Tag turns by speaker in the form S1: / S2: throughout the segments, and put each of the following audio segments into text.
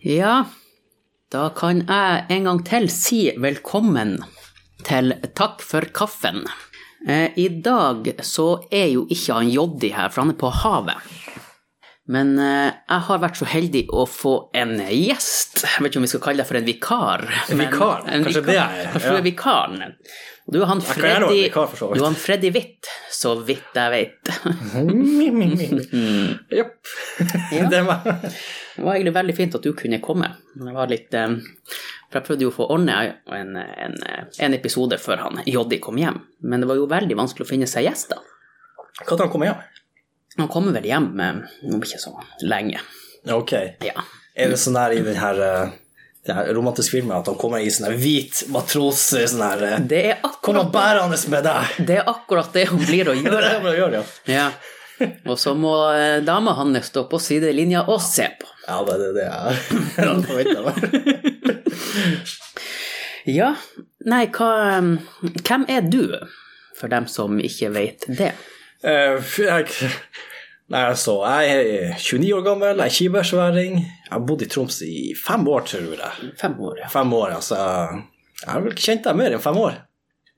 S1: Ja, da kan jeg en gang til si velkommen til Takk for kaffen. Eh, I dag så er jo ikke han Joddi her, for han er på havet. Men eh, jeg har vært så heldig å få en gjest. Jeg vet ikke om vi skal kalle deg for en vikar.
S2: En
S1: men-
S2: vikar? Kanskje det er-
S1: Kanskje du er vikaren. Og du er han
S2: kan gjerne være
S1: Freddy,
S2: vikar, for så vidt.
S1: du er han Freddy Hvitt, så vidt jeg vet.
S2: Jepp. Det var
S1: Det var egentlig veldig fint at du kunne komme. Det var litt, eh, for jeg prøvde jo å få ordna en, en, en episode før han Joddi kom hjem, men det var jo veldig vanskelig å finne seg gjester.
S2: Når han kom hjem?
S1: Han kommer vel hjem eh, om ikke så lenge.
S2: Ok.
S1: Ja.
S2: Er det sånn der i den her, eh, den her romantiske filmen at han kommer i sånn her hvit matros i sånn her eh,
S1: Det er
S2: Kom og
S1: akkurat
S2: bærende med deg!
S1: det, er akkurat det han blir å
S2: Det er
S1: gjøre.
S2: det han gjør, ja.
S1: Ja. Og så må eh, dama hans stå på sidelinja og se på.
S2: Ja, det er det jeg hadde forventet.
S1: Ja, nei, hva eh, Hvem er du, for dem som ikke vet det?
S2: Eh, jeg, nei, altså, jeg er 29 år gammel, jeg er kibergsværing. Jeg har bodd i Troms i fem år, tror jeg.
S1: Fem år, ja.
S2: Fem år, altså. Jeg har vel ikke kjent deg mer enn fem år.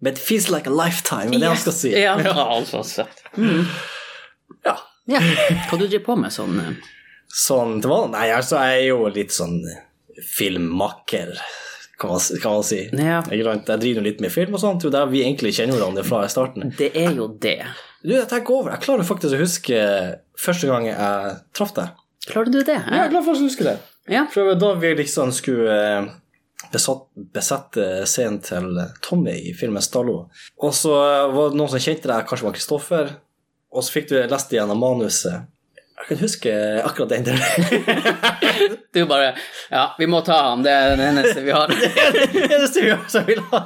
S2: But it feels like a lifetime, er det han skal si.
S1: Ja, altså, søtt.
S2: Ja.
S1: Ja, hva du driver på med sånn eh,
S2: Sånn til vanlig? Nei, altså, jeg er jo litt sånn filmmaker, kan man, kan man si.
S1: Ja.
S2: Ikke sant? Jeg driver jo litt med film og sånt, det er jo der vi egentlig kjenner hverandre fra i starten.
S1: Det er jo det.
S2: Du, jeg tenker over, jeg klarer faktisk å huske første gang jeg traff deg.
S1: Klarer du det? eh?
S2: Ja, jeg klarer faktisk å huske det.
S1: Ja.
S2: For det var da vi liksom skulle eh, besatt, besette eh, scenen til Tommy i filmen Stallo. Og så var det noen som kjente deg, kanskje det var Kristoffer, og så fikk du lest igjennom manuset. Jeg kan huske akkurat den delen.
S1: Du bare Ja, vi må ta ham, det er den eneste vi har.
S2: Det er det seriøse jeg vil ha.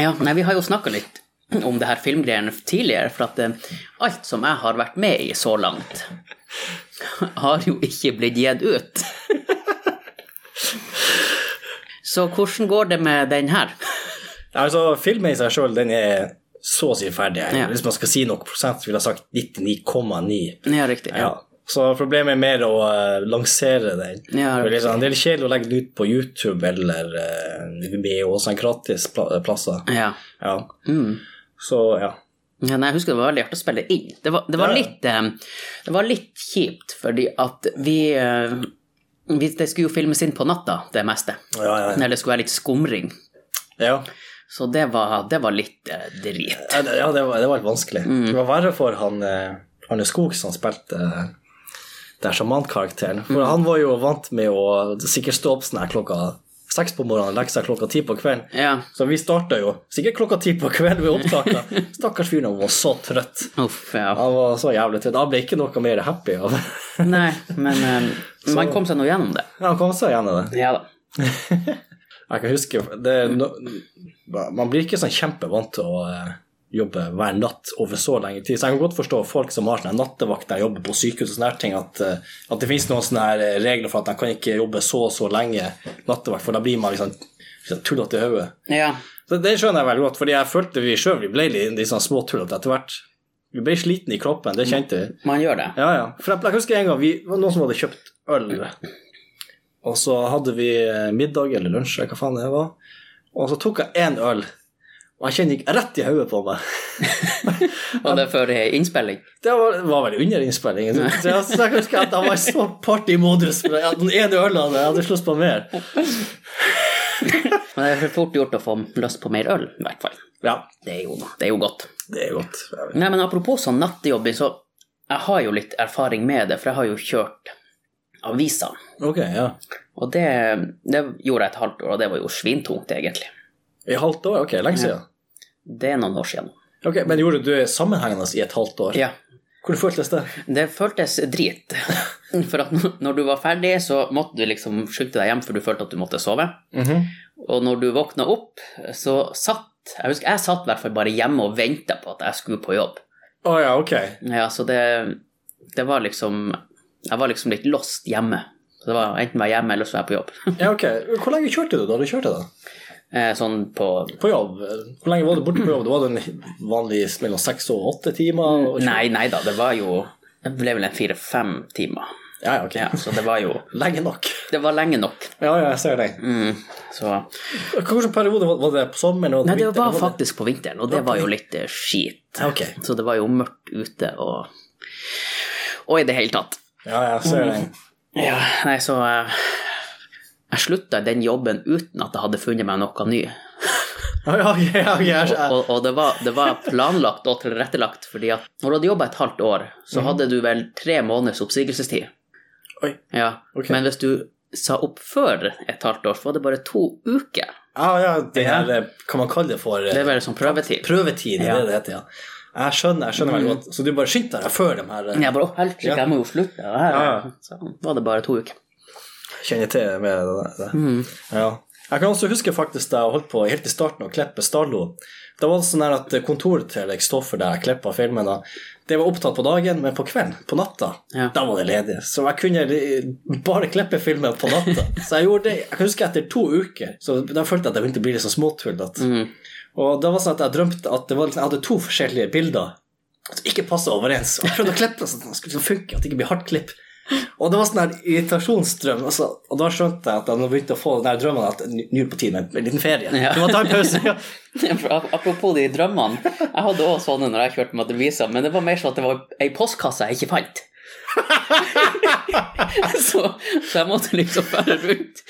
S1: Ja, nei, vi har jo snakka litt om det her filmgreiene tidligere, for at eh, alt som jeg har vært med i så langt, har jo ikke blitt gitt ut. Så hvordan går det med den her?
S2: Altså, filmen i seg sjøl, den er så å si ferdig.
S1: Ja.
S2: Hvis man skal si noe prosent, så ville jeg sagt 99,9.
S1: Ja, riktig.
S2: Ja. Så problemet er mer å eh, lansere den.
S1: Ja,
S2: For liksom, det er litt kjedelig å legge den ut på YouTube eller uh, BH, sånn gratis pla- plasser.
S1: ja.
S2: Ja.
S1: Mm.
S2: Så, ja.
S1: Ja, nei, jeg husker det var veldig hardt å spille inn. Det var, det var,
S2: Ja, ja.
S1: litt, eh, det var litt kjipt, fordi at vi, eh, vi Det skulle jo filmes inn på natta, det meste.
S2: Ja, ja, ja.
S1: Eller det skulle være litt skumring.
S2: ja.
S1: Så det var, det var litt eh, drit.
S2: Ja, det, ja, det, var, det var litt vanskelig. Det var verre for han eh, Arne Skog som spilte eh, den sjamantkarakteren. For han var jo vant med å sikkert stå opp sånn her klokka seks på morgenen og legge seg klokka ti på kvelden.
S1: Ja,
S2: Så vi starta jo sikkert klokka ti på kvelden med opptakene. Stakkars fyren, han var så trøtt.
S1: uff, ja.
S2: Han var så jævlig trøtt. Han ble ikke noe mer happy av
S1: Nei, men eh, man kom seg nå gjennom det.
S2: Han kom seg gjennom det.
S1: Ja da.
S2: Jeg kan huske det, er no- Man blir ikke sånn kjempevant til å eh, jobbe hver natt over så lenge tid. Så jeg kan godt forstå folk som har sånne nattevakter og jobber på sykehus og sånne her ting, at, eh, at det finnes noen sånne her eh, regler for at de kan ikke jobbe så og så lenge nattevakt, for da blir man liksom, liksom tullete i hodet.
S1: Ja.
S2: Så Det skjønner jeg veldig godt, fordi jeg følte vi sjøl ble litt litt sånn småtullete etter hvert. Vi ble slitne i kroppen, det kjente vi.
S1: Man gjør det.
S2: Ja, ja. For jeg, jeg husker en gang vi det var noen som hadde kjøpt øl. Og så hadde vi eh, middag eller lunsj, eller hva faen det var. Og så tok jeg én øl, og jeg kjenner gikk rett i hodet på meg.
S1: Og det er før eh, innspilling.
S2: Det var, var vel under innspillingen. Så jeg, så jeg husker at jeg var i så partymodus. for jeg hadde Den ene ølen hadde jeg hadde slåss på mer.
S1: Men det er for fort gjort å få lyst på mer øl, i hvert fall.
S2: Ja,
S1: Det er jo, det er jo godt.
S2: det er godt. Jeg vet.
S1: Nei, men apropos sånn nattjobbing, så jeg har jo litt erfaring med det, for jeg har jo kjørt aviser.
S2: Ok, ja.
S1: Og det, det gjorde jeg et halvt år, og det var jo svintungt, egentlig.
S2: I halvt år? Ok, lenge siden.
S1: Det er noen år siden.
S2: Ok, Men gjorde du det sammenhengende i et halvt år?
S1: Ja.
S2: Hvordan føltes det?
S1: Det føltes drit. For at når du var ferdig, så måtte du liksom skynde deg hjem, for du følte at du måtte sove. Og når du våkna opp, så satt Jeg husker jeg satt i hvert fall bare hjemme og venta på at jeg skulle på jobb.
S2: Å ja, ok.
S1: Ja, så det, det var liksom Jeg var liksom litt lost hjemme. Så det var Enten var jeg hjemme, eller så var jeg på jobb.
S2: Ja, ok. Hvor lenge kjørte du da du kjørte? da?
S1: Eh, Sånn på
S2: på jobb. Hvor lenge var du borte på jobb? Det var den vanlige mellom seks og åtte timer? Og
S1: Nei, nei da, det var jo Det ble vel en fire-fem timer.
S2: Ja, ja, ok.
S1: Ja, så det var jo
S2: Lenge nok.
S1: Det var lenge nok.
S2: Ja, ja, jeg ser det.
S1: Mm, så
S2: Hvilken periode var var det på sommeren?
S1: Nei, det var faktisk på vinteren, og det var jo litt eh, skit.
S2: Ok.
S1: Så det var jo mørkt ute og Og i det hele tatt.
S2: Ja, jeg ser det.
S1: Mm. Ja, nei, så eh, Jeg slutta i den jobben uten at jeg hadde funnet meg noe ny.
S2: Ja, ja, ok, ja, ok, jeg ser-
S1: Og, og det, var, det var planlagt og tilrettelagt, fordi at når du hadde jobba et halvt år, så hadde du vel tre måneders oppsigelsestid.
S2: Mhm. Oi.
S1: Ja.
S2: Ok.
S1: Men hvis du sa opp før et halvt år, så var det bare to uker.
S2: Ja, ja, det her eh, Kan man kalle det for eh,
S1: Det er bare sånn prøvetid.
S2: prøvetid? Det er det det heter, ja. Jeg skjønner, jeg skjønner veldig
S1: Mm.
S2: godt. Så du bare skyndte deg før de her eh,
S1: Jeg bare, å, helsike,
S2: Ja.
S1: jeg må jo slutte. det her».
S2: Ja, ja.
S1: Så var det bare to uker.
S2: kjenner til med det. det. Ja. Jeg kan også huske faktisk da jeg holdt på helt i starten å klippe Starlo. Da var det sånn her at kontoret til Kristoffer der jeg klippa filmen, da, det var opptatt på dagen, men på kvelden, på natta,
S1: Ja.
S2: da var det ledig. Så jeg kunne li- bare klippe filmen på natta. Så jeg gjorde det jeg kan huske etter to uker, så da følte jeg at jeg begynte å bli litt sånn småtullete. Og det var sånn at jeg drømte at det var liksom, jeg hadde to forskjellige bilder som ikke passa overens. Og jeg prøvde å klippe sånn at det skulle funke, at det ikke blir hardt klipp. Og det var sånn her irritasjonsdrøm. Altså, og da skjønte jeg at jeg nå begynte å få den her drømmen at nå er det på tide med en liten ferie.
S1: Ja.
S2: Du må ta en pause. Ja.
S1: For ap- Apropos de drømmene. Jeg hadde også sånne når jeg kjørte med Advisa, men det var mer sånn at det var ei postkasse jeg ikke fant. så, så jeg måtte liksom fære rundt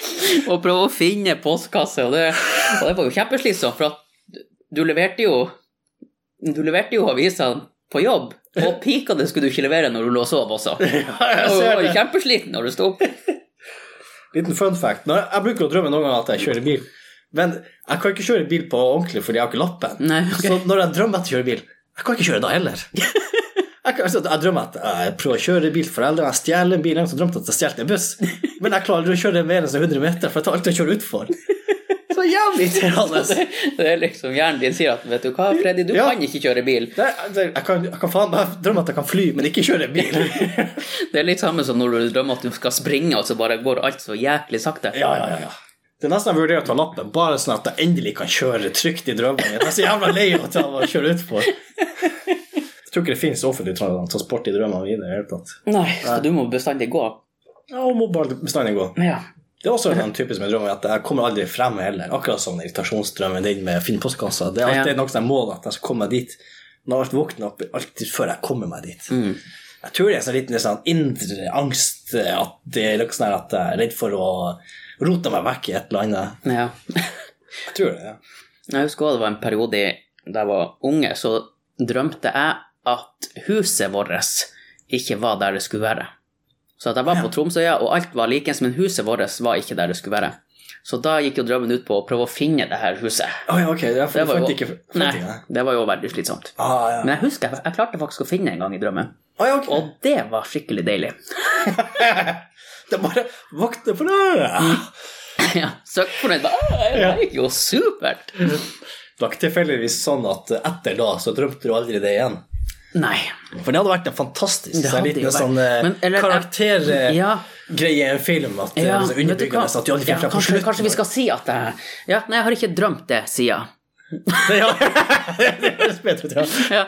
S1: og prøve å finne postkasse, og det, og det var jo kjempeslitsomt, for at du leverte jo Du leverte jo avisene på jobb, og pikene skulle du ikke levere når du lå og sov også.
S2: jeg
S1: Og du
S2: ser
S1: var jo
S2: det.
S1: kjempesliten når du sto opp.
S2: Liten fun fact. Når jeg, jeg bruker å drømme noen ganger at jeg kjører bil, men jeg kan ikke kjøre bil på ordentlig fordi jeg har ikke lappen.
S1: Nei, ok.
S2: Så når jeg drømmer at jeg kjører bil, jeg kan ikke kjøre da heller. Jeg, kan, altså, jeg drømmer at jeg prøver å kjøre bil for eldre, jeg stjeler en bil, jeg drømte at jeg stjal en buss, men jeg klarer aldri å kjøre mer enn sånn 100 meter, for jeg tar alltid å kjøre utfor. Så jævlig irriterende.
S1: Det, det er liksom hjernen din sier at vet du hva, Freddy, du
S2: Ja.
S1: kan ikke kjøre bil.
S2: Det, det, altså, jeg, kan, jeg kan faen meg drømme at jeg kan fly, men ikke kjøre bil.
S1: Det er litt samme som når du drømmer at du skal springe, og så bare går alt så jæklig sakte.
S2: ja, ja, ja, ja. Det er nesten jeg vurderer å ta lappen, bare sånn at jeg endelig kan kjøre trygt i drømmen. min. Jeg er så jævla lei av at jeg må kjøre utfor. Jeg tror ikke det finnes offentlig tra- transport i drømmene mine i det hele tatt.
S1: Nei, så du må bestandig gå.
S2: Ja, og må bare bestandig gå.
S1: Ja.
S2: Det er også en typisk med drømmen at jeg kommer aldri frem heller. Akkurat som irritasjonsdrømmen din med å finne postkassa. Det er alltid noe som er målet, at jeg skal komme meg dit. Men jeg har vært våken opp alltid før jeg kommer meg dit.
S1: Mm.
S2: Jeg tror det er en sånn liten sånn indre angst, at det er noe sånn her at jeg er redd for å rote meg vekk i et eller annet.
S1: ja.
S2: Jeg tror det, ja.
S1: Jeg husker også det var en periode da jeg var unge, så drømte jeg at huset vårt ikke var der det skulle være. Så at jeg var på Tromsøya, og alt var likens, men huset vårt var ikke der det skulle være. Så da gikk jo drømmen ut på å prøve å finne det her huset.
S2: Å ja, ok, jeg
S1: Det var jo,
S2: fant ikke fant
S1: nei,
S2: ikke det.
S1: det var jo veldig slitsomt.
S2: Ah, ja.
S1: Men jeg husker jeg, jeg klarte faktisk å finne en gang i drømmen,
S2: Ah, ja, ok.
S1: og det var skikkelig deilig.
S2: Det er bare vakter for øret.
S1: Mm. Ja, søkkfornøyd. Bare, «Å, Det gikk jo supert.
S2: Det var ikke tilfeldigvis sånn at etter da så drømte du aldri det igjen.
S1: Nei.
S2: For det hadde vært en fantastisk
S1: Det
S2: sånn
S1: hadde jo
S2: liten
S1: vært-
S2: sånn
S1: Men, eller-
S2: karaktergreie
S1: Ja.
S2: i en film. At Eh, altså, det
S1: Ja,
S2: er så
S1: vet du hva?
S2: underbyggende at du aldri
S1: Ja,
S2: fikk frem på
S1: kanskje,
S2: slutten.
S1: kanskje vi skal si at jeg Ja, nei, jeg har ikke drømt det, sier jeg.
S2: ja, det høres bedre ut, ja.
S1: Ja.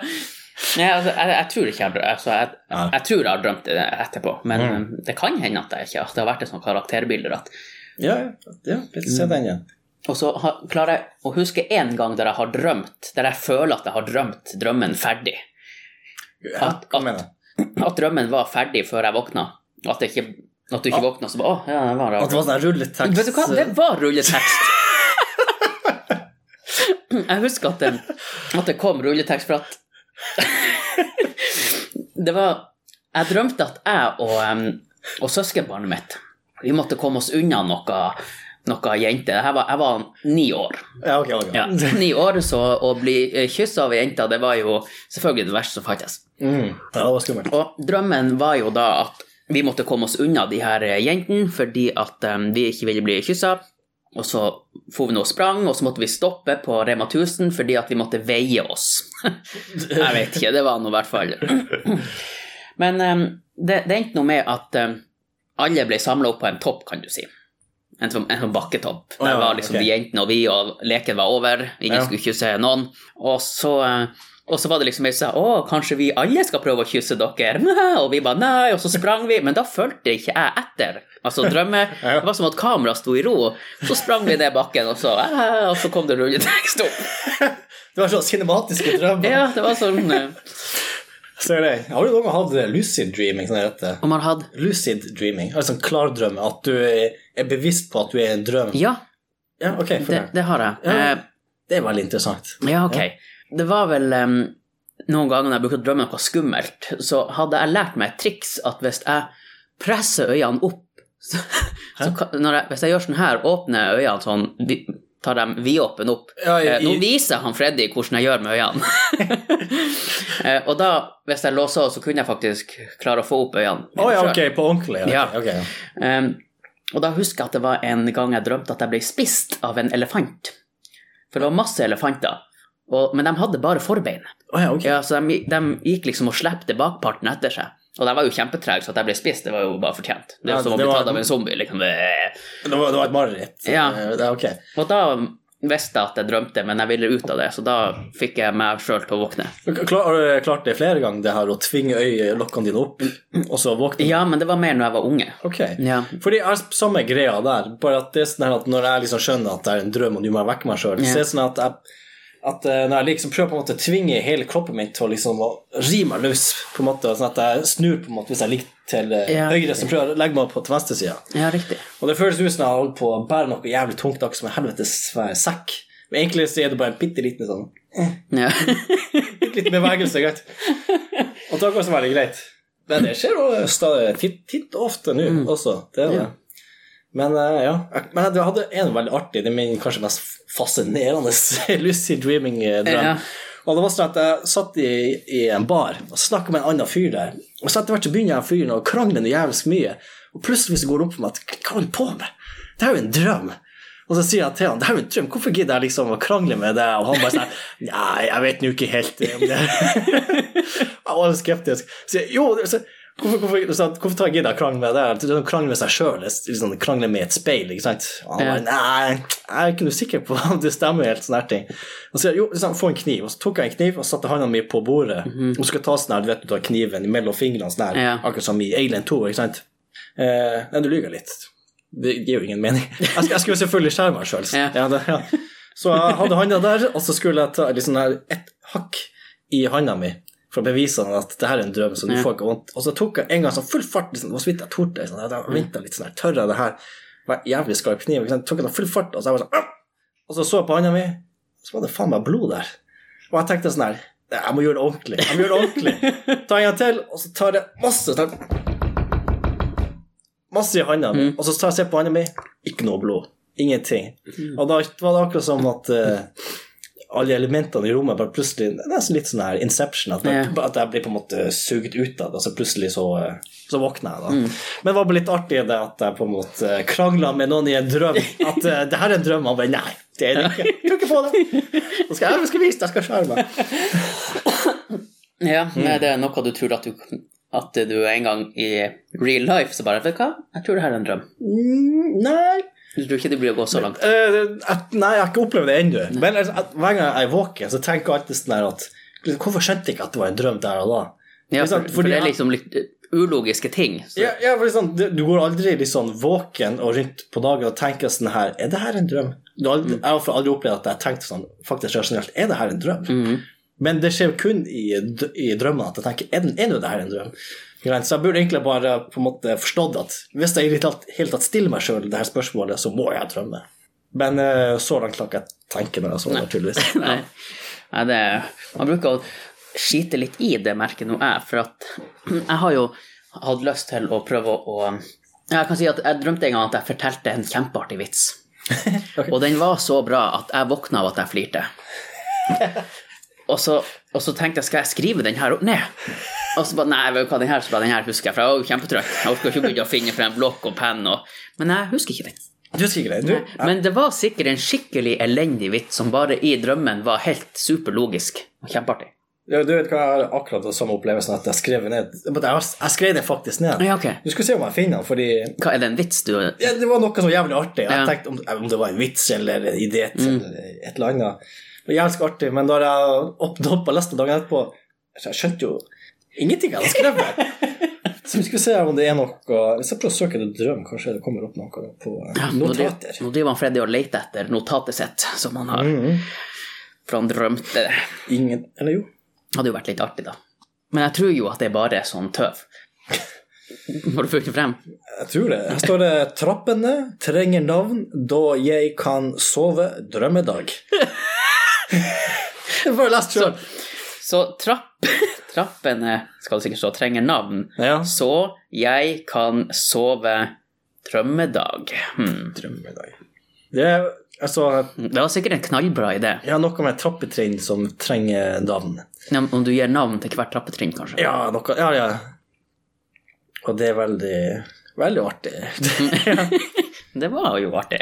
S1: Nei, altså, jeg, jeg tror ikke jeg har drømt altså, jeg,
S2: Nei. Mm.
S1: jeg tror jeg har drømt det etterpå, men um, det kan hende at jeg ikke at det har vært et sånt karakterbilde. At,
S2: Ja, ja, ja, litt se den
S1: Mm.
S2: igjen.
S1: og så har, klarer jeg å huske én gang der jeg har drømt, der jeg føler at jeg har drømt drømmen ferdig.
S2: Ja,
S1: At-
S2: hva
S1: at-
S2: mener du?
S1: At drømmen var ferdig før jeg våkna. At, det ikke, at du ikke våkna så bare Å, ja, det var rart.
S2: At det var sånn her rulletekst
S1: Vet du hva, det var rulletekst. Jeg husker at det, at det kom rulletekst, for at Det var Jeg drømte at jeg og, em, og søskenbarnet mitt Vi måtte komme oss unna noe, noe jente. Jeg var, jeg var ni år.
S2: Ja, ok, ok.
S1: Ja. Ni år, så å bli kyssa av ei jente, det var jo selvfølgelig det verste som fantes.
S2: Mm. Ja, det var skummelt.
S1: Og drømmen var jo da at vi måtte komme oss unna de her eh, jentene fordi at eh, vi ikke ville bli kyssa. Og så for vi nå og sprang, og så måtte vi stoppe på Rema 1000 fordi at vi måtte veie oss. Jeg vet ikke, det var nå i hvert fall. Men eh, det, det endte nå med at eh, alle ble samla opp på en topp, kan du si. en sånn, en sånn bakketopp.
S2: Å,
S1: Der
S2: ja,
S1: var liksom
S2: ok.
S1: de jentene og vi, og leken var over. Ingen
S2: Ja.
S1: skulle kysse noen. Og så, eh, og så var det liksom ei som sa å, kanskje vi alle skal prøve å kysse dere? Og vi bare nei, og så sprang vi. Men da fulgte ikke jeg etter. Altså drømme.
S2: Ja.
S1: Det var som at kameraet sto i ro. Så sprang vi ned bakken, og så, eh, og så kom det rulletekst opp.
S2: Det var sånn cinematiske drømmer.
S1: Ja, det var sånn eh,
S2: Ser det. Har du noen gang hatt eh, lucid dreaming? Sånn heter det.
S1: Om man hadde
S2: Lucid dreaming, altså en klardrøm, at du er er bevisst på at du er i en drøm.
S1: Ja,
S2: Ja, ok,
S1: det,
S2: fortell.
S1: det har jeg.
S2: Ja.
S1: Eh,
S2: Det er veldig interessant.
S1: Ja, ok. Det var vel em, noen ganger når jeg brukte å drømme noe skummelt, så hadde jeg lært meg et triks at hvis jeg presser øynene opp så, så kan- når jeg, Hvis jeg gjør sånn her, åpner jeg øynene sånn, vi- tar dem vidåpne opp
S2: Ja, i-
S1: Eh, Nå
S2: i-
S1: viser han Freddy hvordan jeg gjør med øynene. Eh, og da, hvis jeg låser av, så kunne jeg faktisk klare å få opp øynene.
S2: Å
S1: mine
S2: ja,
S1: selv.
S2: ok, på ordentlig. Ja.
S1: Ja.
S2: ok,
S1: Em,
S2: ok.
S1: Ehm, og da husker jeg at det var en gang jeg drømte at jeg ble spist av en elefant. For det var masse elefanter, og, men de hadde bare forbein.
S2: Å ja, ok.
S1: Ja, så de, de gikk liksom og slepte bakparten etter seg. Og jeg var jo kjempetreg, så at jeg ble spist, det var jo bare fortjent. Det er
S2: Ja,
S1: jo som å
S2: det
S1: bli
S2: var-
S1: tatt av en zombie, liksom. Bæh.
S2: Det var, det var et mareritt.
S1: Ja.
S2: Eh, det er ok.
S1: Og da visste jeg at jeg drømte, men jeg ville ut av det, så da fikk jeg meg sjøl til å våkne.
S2: Klar, har du klart det flere ganger, det her å tvinge øyelokkene dine opp, og så våkne?
S1: Ja, men det var mer når jeg var unge.
S2: Ok.
S1: Ja.
S2: Fordi jeg har samme greia der, bare at det er sånn her at når jeg liksom skjønner at det er en drøm, og nå må jeg vekke meg sjøl,
S1: Ja.
S2: så er det sånn at jeg at eh, når jeg liksom prøver på en måte å tvinge hele kroppen min til å liksom å ri meg løs, på en måte, sånn at jeg snur på en måte hvis jeg ligger til eh,
S1: Ja.
S2: høyre, så prøver jeg å legge meg på til venstre side.
S1: ja, riktig.
S2: Og det føles ut som jeg har holdt på å bære noe jævlig tungt, akkurat som en helvetes svær sekk. Men egentlig så er det bare en bitte liten sånn
S1: Ja.
S2: bitte liten bevegelse, greit. Og det går så veldig greit. Men det skjer jo stadig titt, titt ofte nå også. Det er det. Men eh, ja, men jeg hadde en veldig artig, det er min kanskje mest fascinerende lucid dreaming-drøm.
S1: Ja.
S2: Og det var sånn at jeg satt i, i en bar og snakket med en annen fyr der. Og så etter hvert så begynner jeg fyren å krangle noe jævlig mye. Og plutselig så går det opp for meg at hva holder du på med? Det er jo en drøm. Og så sier jeg til han, det er jo en drøm, hvorfor gidder jeg liksom å krangle med deg? Og han bare sånn, nei, jeg vet nå ikke helt eh, om det. jeg var skeptisk. Så jeg, jo, så, hvorfor, hvorfor, så, han, hvorfor tar jeg gidder jeg å krangle med deg? Det er sånn Krangle med seg selv, det er sånn krangle med et speil, ikke sant? Og han bare, nei, jeg er ikke noe sikker på om det stemmer helt sånne her ting. Og så sier jeg, jo, sånn, få en kniv. Og så tok jeg en kniv og satte hånda mi på bordet. Og skal ta sånn her, du vet, du tar kniven mellom fingrene sånn her,
S1: Ja.
S2: akkurat som i Alien 2, ikke sant? Eh, nei, du lyver litt. Det gir jo ingen mening. Jeg, sk- jeg skulle selvfølgelig skjerme meg sjøl.
S1: Ja.
S2: Ja, det- ja. Så jeg hadde handa der, og så skulle jeg ta liksom her ett hakk i handa mi for å bevise han at det her er en drøm, så du
S1: Ja.
S2: får ikke vondt. Og så tok jeg en gang sånn full fart, liksom, det var så vidt jeg torde. Liksom, jeg ventet litt sånn her, tør jeg det her? Var jævlig skarp kniv. Ikke sant? Tok jeg den full fart, og så jeg var sånn «Au!» Og så så jeg på handa mi, så var det faen meg blod der. Og jeg tenkte sånn her Jeg må gjøre det ordentlig. Jeg må gjøre det ordentlig. Ta en gang til, og så tar jeg masse sånn masse i handa mi, og så tar jeg og ser på handa mi, ikke noe blod. Ingenting. Og da var det akkurat som at eh, alle elementene i rommet bare plutselig Det er nesten litt sånn her Inception, at jeg, at jeg blir på en måte sugd ut av det, og så plutselig så, eh, så våkner jeg, da. Men det var bare litt artig det at jeg på en måte krangla med noen i en drøm. At eh, det her er en drøm. Og bare nei, det er det ikke. Jeg Tror ikke på det. Nå skal jeg, jeg skal vise deg, jeg skal skjære meg.
S1: ja, men det er noe du tror at du, at du en gang i real life så bare Vet du hva, jeg tror det her er en drøm.
S2: Mm, nei.
S1: Jeg tror ikke det blir å gå så langt.
S2: Eh, at, nei, jeg har ikke opplevd det ennå. Men altså, at, hver gang jeg er våken, så tenker jeg alltid sånn her at liksom, Hvorfor skjønte jeg ikke at det var en drøm der og da?
S1: Ja,
S2: Ikke sant?
S1: for, for
S2: Fordi
S1: det er
S2: jeg-
S1: liksom litt eh, ulogiske ting. Så.
S2: Ja, ja, for liksom, du, du går aldri litt sånn våken og rundt på dagen og tenker sånn her Er det her en drøm? Du
S1: Mm.
S2: har aldri, Jeg har i hvert fall aldri opplevd at jeg tenkte sånn faktisk rasjonelt Er det her en drøm?
S1: Mm.
S2: Men det skjer jo kun i, d- i drømmene at jeg tenker Er, den- er nå det her en drøm? Greit, Så jeg burde egentlig bare på en måte forstått at hvis jeg i det hele tatt- hele tatt stiller meg sjøl det her spørsmålet, så må jeg drømme. Men eh, så langt kan ikke jeg tenke når jeg sover, tydeligvis.
S1: Nei. Nei, det Man bruker å skite litt i det, merker nå jeg, for at jeg har jo hatt lyst til å prøve å Ja, Jeg kan si at jeg drømte en gang at jeg fortalte en kjempeartig vits. Og den var så bra at jeg våkna av at jeg flirte. Og så, og så tenkte jeg, skal jeg skrive den her opp ned? Og så bare, nei, vet du hva, den her, så bare, den her husker jeg, for jeg var jo kjempetrøtt. Jeg orker ikke å begynne å finne frem blokk og penn og Men jeg husker ikke den.
S2: Du husker ikke det? Du?
S1: Men det var sikkert en skikkelig elendig vits som bare i drømmen var helt superlogisk og kjempeartig.
S2: Ja, du vet hva, Jeg har akkurat den samme opplevelsen at jeg skrev ned Men Jeg, har- jeg skrev det faktisk ned.
S1: Ja, ok.
S2: Du skal se om jeg finner den, fordi
S1: Hva er det en vits du
S2: ja, det var noe så jævlig artig. Jeg
S1: Ja.
S2: tenkte om, om det var en vits eller en idé til et eller annet. Det var jævlig artig, men da jeg åpnet opp og leste dagen etterpå, jeg skjønte jo ingenting jeg hadde skrevet. Så vi skulle se om det er noe Hvis jeg prøver å søke etter drøm, kanskje det kommer opp noe på eh,
S1: Nå driver-
S2: notater.
S1: Nå driver han Freddy og leter etter notatet sitt, som han har.
S2: Mhm.
S1: For han drømte det.
S2: Ingen Eller jo.
S1: Hadde jo vært litt artig, da. Men jeg tror jo at det er bare sånn tøv. Har du funnet frem?
S2: Jeg tror det. Her står det 'Trappene trenger navn da jeg kan sove drømmedag'. Det får du lest sjøl.
S1: Så trapp, trappene, skal det sikkert stå, trenger navn.
S2: Ja.
S1: Så jeg kan sove drømmedag. Hmm.
S2: Drømmedag. Det er altså
S1: Det var sikkert en knallbra idé.
S2: Ja, noe med trappetrinn som trenger navn.
S1: Ja, Om du gir navn til hvert trappetrinn, kanskje.
S2: Ja, noe Ja, ja. Og det er veldig Veldig artig.
S1: Det var jo artig.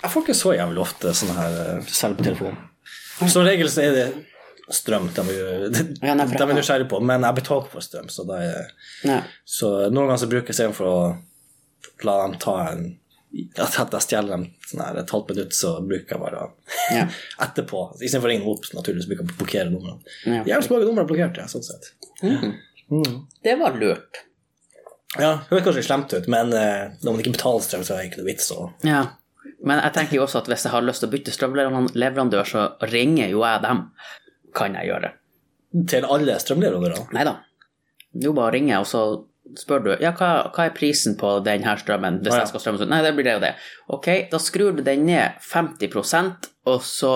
S2: Jeg får ikke så jævlig ofte sånn her eh, selvtelefon. Som regel så er det strøm de er, de,
S1: Ja, nei, for
S2: de er nysgjerrig på, men jeg betaler for strøm, så da er Så noen ganger så bruker jeg istedenfor å la dem ta en At at jeg stjeler dem sånn her et halvt minutt, så bruker jeg bare å-
S1: Ja.
S2: etterpå. Istedenfor å ringe opp, så naturligvis bruker jeg å blokkere numrene.
S1: Ja.
S2: Jævlig mange numre er blokkert, ja, sånn sett.
S1: Det var lurt.
S2: Ja, det høres kanskje slemt ut, men eh, når man ikke betaler strøm, så er det ikke noe vits å
S1: Ja. Men jeg tenker jo også at hvis jeg har lyst til å bytte strømleverandør, så ringer jo jeg dem. Kan jeg gjøre.
S2: Til alle strømleverandører.
S1: Nei da. Jo, bare ringer, og så spør du ja, hva, hva er prisen på denne strømmen. hvis
S2: Å, ja.
S1: jeg skal strømme ut. Nei, det blir det og det. Ok, da skrur du den ned 50 og så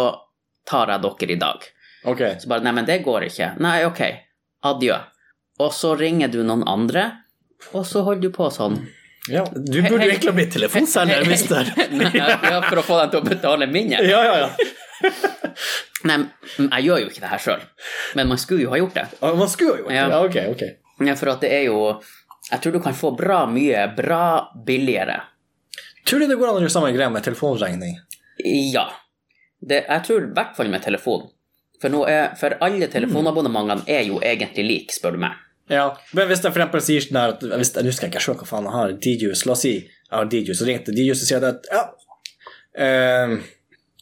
S1: tar jeg dere i dag.
S2: Ok.
S1: Så bare Nei, men det går ikke. Nei, ok. Adjø. Og så ringer du noen andre, og så holder du på sånn.
S2: Ja. Du burde jo egentlig ha blitt telefonselger, mister.
S1: Nei, ja, for å få dem til å betale mindre.
S2: Ja, ja, ja.
S1: Nei, men jeg gjør jo ikke det her sjøl, men man skulle jo ha gjort det.
S2: Ah, Man skulle jo gjort det.
S1: Ja.
S2: Ja, ok, ok.
S1: Ja, for at det er jo Jeg tror du kan få bra mye bra billigere.
S2: Tror du det går an å gjøre samme greie med telefonregning?
S1: Ja. Det, jeg tror i hvert fall med telefon. For, nå er, for alle telefonabonnementene er jo egentlig like, spør du meg.
S2: Ja, men hvis jeg for eksempel sier sånn her at hvis, Jeg husker ikke selv hva faen jeg har. DJs, la oss si jeg har DJs, så ringte DJs og sier at ja, eh,